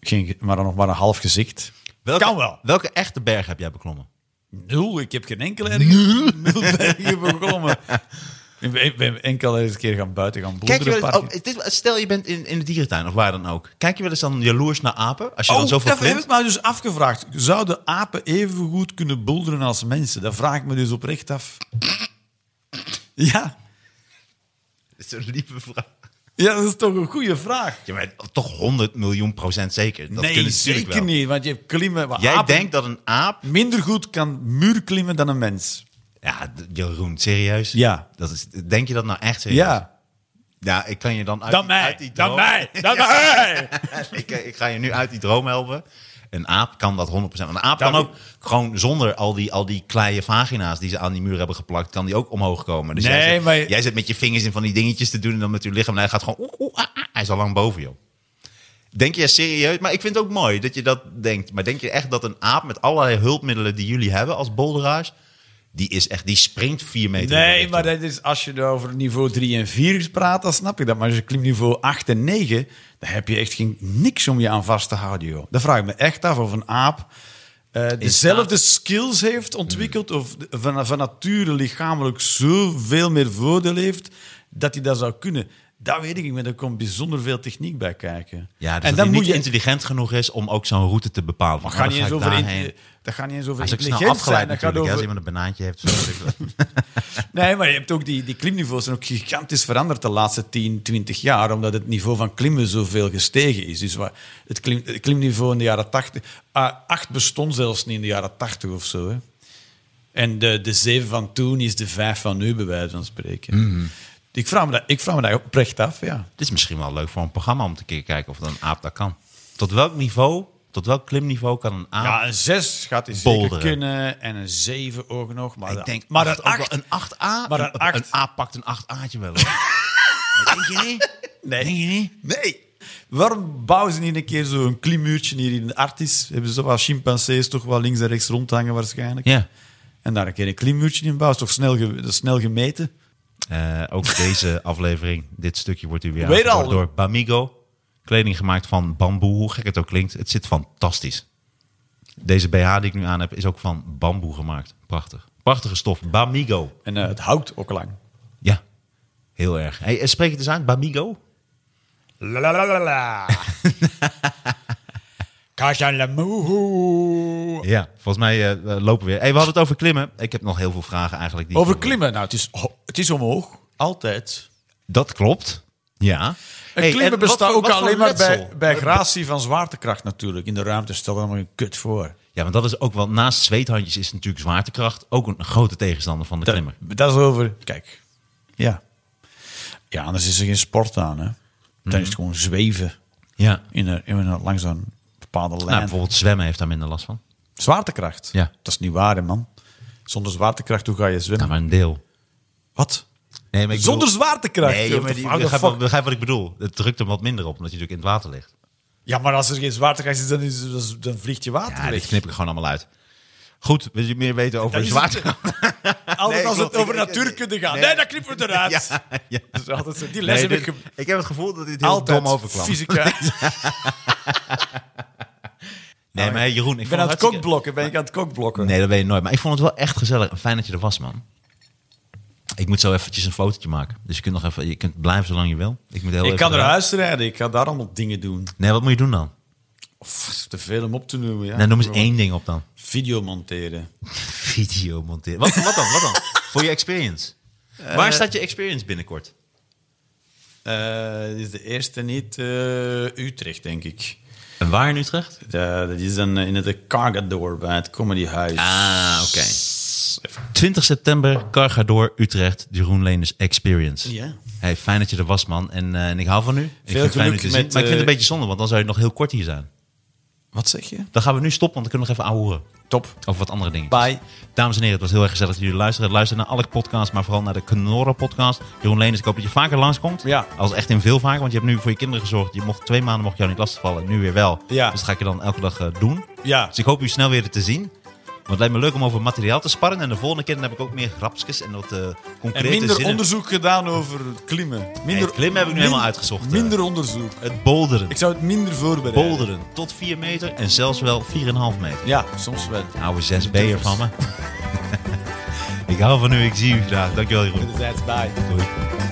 B: geen, ge- maar dan nog maar een half gezicht.
D: Welke,
B: Kan wel.
D: Welke echte berg heb jij beklommen?
B: Nul, ik heb geen enkele ergens nul bergen beklommen. Ik ben- ik ben enkel eens een keer gaan buiten gaan
D: Kijk je
B: boeren.
D: wel eens, oh, het is- stel je bent in, in de dierentuin of waar dan ook. Kijk je wel eens dan jaloers naar apen als je dan zoveel
B: dat heb
D: klimt?
B: ik me dus afgevraagd. Zouden apen even goed kunnen bulderen als mensen? Dat vraag ik me dus oprecht af. Ja,
D: Zo'n lieve vraag.
B: ja dat is toch een goede vraag.
D: Ja, maar toch 100 miljoen procent zeker. Dat
B: nee,
D: kunnen ze natuurlijk
B: zeker
D: wel.
B: niet. Want je hebt klimmen. waar
D: Jij
B: apen
D: denkt dat een aap...
B: minder goed kan muurklimmen dan een mens.
D: Ja, d- Jeroen, serieus?
B: Ja.
D: Dat is, denk je dat nou echt serieus?
B: Ja.
D: Ja, ik kan je dan uit,
B: Dan
D: die- uit die
B: mij.
D: droom...
B: Dan mij. Dan mij.
D: ik, eh, ik ga je nu uit die droom helpen. Een aap kan dat 100%. Want een aap kan
B: Dat-
D: ook gewoon zonder al die, al die kleine vagina's die ze aan die muur hebben geplakt, kan die ook omhoog komen. Dus jij,
B: Nee,
D: zit,
B: maar je-
D: jij zit met je vingers in van die dingetjes te doen en dan met je lichaam. En hij gaat gewoon. oeh, oeh, ah, ah. hij is al lang boven jou. Denk je serieus? Maar ik vind het ook mooi dat je dat denkt. Maar denk je echt dat een aap met allerlei hulpmiddelen die jullie hebben als boulderaars, die is echt, die springt vier meter. in de
B: Nee,
D: richting.
B: maar dat is, als je over niveau 3 en 4 praat, dan snap ik dat. Maar als je klimt niveau 8 en 9, dan heb je echt geen, niks om je aan vast te houden, joh. Dan vraag ik me echt af of een aap eh, dezelfde skills heeft ontwikkeld... of de- van, van nature lichamelijk zoveel meer voordeel heeft dat hij dat zou kunnen. Dat weet ik niet, maar daar komt bijzonder veel techniek bij kijken.
D: Ja, dus
B: en
D: dat
B: dan
D: hij
B: moet
D: niet
B: je...
D: intelligent genoeg is om ook zo'n route te bepalen.
B: Maar
D: Van,
B: ga
D: oh,
B: niet
D: dan
B: eens
D: ik
B: over,
D: daarheen.
B: in, dat gaat niet eens over
D: Hij is ook snel
B: intelligent
D: afgeleid
B: zijn. Dat gaat
D: natuurlijk. hè, Als
B: over
D: iemand een banaantje heeft. zo-
B: Nee, maar je hebt ook die, die klimniveaus zijn ook gigantisch veranderd de laatste 10, 20 jaar, omdat het niveau van klimmen zoveel gestegen is. Dus wa- het, klim, het klimniveau in de jaren 80, ah, 8 bestond zelfs niet in de jaren 80 of zo. Hè. En de, de 7 van toen is de 5 van nu, bij wijze van spreken. Ik vraag me dat, ik vraag me dat oprecht af, ja.
D: Het is misschien wel leuk voor een programma om te keer kijken of dan een aap dat kan. Tot welk niveau, tot welk klimniveau kan een aap...
B: Ja, een 6 gaat hij
D: Boulderen.
B: zeker kunnen en een 7 ook nog. Maar
D: ik
B: dat-
D: denk,
B: maar
D: acht
B: dat
D: ook wel.
B: 8
D: een 8A.
B: Maar
D: een,
B: een acht-
D: een aap pakt een 8A'tje wel. hoor. denk je niet?
B: Nee.
D: Denk je niet?
B: Nee. Waarom bouwen ze niet een keer zo'n klimmuurtje hier in de Artis? Hebben ze wel chimpansees toch wel links en rechts rondhangen waarschijnlijk?
D: Ja.
B: En daar een keer een klimmuurtje in bouwen, is toch snel, ge- dat is snel gemeten?
D: Eh, ook deze aflevering, dit stukje wordt u weer
B: Weer
D: aangeboden
B: al.
D: door Bamigo. Kleding gemaakt van bamboe, hoe gek het ook klinkt. Het zit fantastisch. Deze BH die ik nu aan heb is ook van bamboe gemaakt. Prachtig. Prachtige stof. Bamigo.
B: En eh, het houdt ook lang.
D: Ja, heel erg. Hey, eh, spreek het eens aan, Bamigo.
B: La la la la la. Kajan la moehoe.
D: Ja, volgens mij eh, we lopen we weer. Hey, we hadden het over klimmen. Ik heb nog heel veel vragen eigenlijk. Die ik
B: Over
D: wil-
B: klimmen, nou het is, ho- het is omhoog, altijd.
D: Dat klopt. Ja.
B: En
D: Hey,
B: klimmen
D: en wat
B: bestaat
D: voor-
B: ook
D: wat voor
B: alleen maar bij,
D: letsel?
B: bij gratie van zwaartekracht natuurlijk. In de ruimte stel er maar een kut voor.
D: Ja, want dat is ook wel... Naast zweethandjes is natuurlijk zwaartekracht ook een grote tegenstander van de
B: Dat,
D: klimmer.
B: dat is over... Kijk, Ja. Ja, anders is er geen sport aan. Hè? Dan is
D: Mhm.
B: het gewoon zweven
D: Ja.
B: in een, in een, langs een bepaalde lijn.
D: Nou, bijvoorbeeld zwemmen heeft daar minder last van.
B: zwaartekracht.
D: Ja.
B: Dat is niet waar, hè, man. Zonder zwaartekracht, hoe ga je zwemmen?
D: Nou, maar een deel.
B: Wat?
D: Nee, maar ik
B: Zonder
D: bedoel-
B: zwaartekracht?
D: Nee,
B: joh,
D: maar die,
B: what the
D: begrijp,
B: fuck?
D: wat- begrijp wat ik bedoel. Het drukt hem wat minder op, omdat je natuurlijk in het water ligt.
B: Ja, maar als er geen zwaartekracht is, dan, is, dan- dan vliegt je water
D: Ja,
B: weg.
D: dit knip ik gewoon allemaal uit. Goed, wil je meer weten over
B: Dat is-
D: zwaartekracht?
B: Altijd
D: Nee,
B: als
D: klopt.
B: het over
D: Ik- ik-
B: natuurkunde gaat.
D: nee.
B: Nee, dan knippen we het eruit.
D: ja.
B: Dat is altijd zo. Die
D: Nee,
B: lessen
D: dit-
B: heb ik
D: ik heb het gevoel dat dit heel
B: altijd
D: dom overkwam.
B: fysica.
D: Nee, maar hey, Jeroen, ik
B: Ik ben
D: vond
B: aan
D: het
B: het
D: hartstikke-
B: kokblokken. Ben ik aan het kokblokken?
D: Nee, dat weet je nooit. Maar ik vond het wel echt gezellig en fijn dat je er was, man. Ik moet zo eventjes een fotootje maken. Dus je kunt nog even, je kunt blijven zolang je wil. Ik, moet heel
B: Ik
D: even
B: kan naar
D: eruit.
B: huis rijden. Ik ga daar allemaal dingen doen.
D: Nee, wat moet je doen dan?
B: Of te veel om op te noemen. Ja.
D: Nee, noem eens één ding op dan.
B: Video monteren.
D: Video monteren. Wat, wat dan? Wat dan? Voor je experience. Waar staat je experience binnenkort?
B: Eh, dit is de eerste niet eh, Utrecht, denk ik.
D: En waar in Utrecht?
B: De- dat is dan eh, in het Cargador bij het Comedyhuis.
D: Ah, oké. 20 september, Cargador, Utrecht, Jeroen Leners Experience.
B: Ja.
D: Hey, fijn dat je er was, man. En, eh, en ik hou van u. ik vind het fijn u
B: geluk
D: te zien.
B: met,
D: Maar ik vind het
B: eh,
D: een beetje zonde, want dan zou je nog heel kort hier zijn.
B: Wat zeg je?
D: Dan gaan we nu stoppen, want dan kunnen we nog even ouwen.
B: Top.
D: Over wat andere dingen.
B: Bye.
D: Dames en heren, het was heel erg gezellig dat jullie luisteren. Luister naar alle podcasts, maar vooral naar de Knorren podcast. Jeroen Leners, ik hoop dat je vaker langskomt.
B: Ja.
D: Als echt in veel vaker, want je hebt nu voor je kinderen gezorgd. Je mocht twee maanden mocht jou niet lastigvallen, nu weer wel.
B: Ja.
D: Dus dat ga ik je dan elke dag eh, doen.
B: Ja.
D: Dus ik hoop u snel weer te zien. Want het lijkt me leuk om over materiaal te sparren. En de volgende keer dan heb ik ook meer grapjes en wat eh,
B: En
D: concrete
B: minder
D: zinnen.
B: onderzoek gedaan over het klimmen. Minder,
D: het klimmen heb ik nu
B: min-
D: helemaal uitgezocht, eh.
B: Minder onderzoek.
D: Het boulderen.
B: Ik zou het minder voorbereiden.
D: Boulderen tot 4 meter en zelfs wel 4,5 meter. Nou,
B: Ja, soms wel.
D: Oude 6B'er van me. ik hou van u, ik zie u graag. Dankjewel Jeroen.
B: Wederzijds, bye.
D: Doei.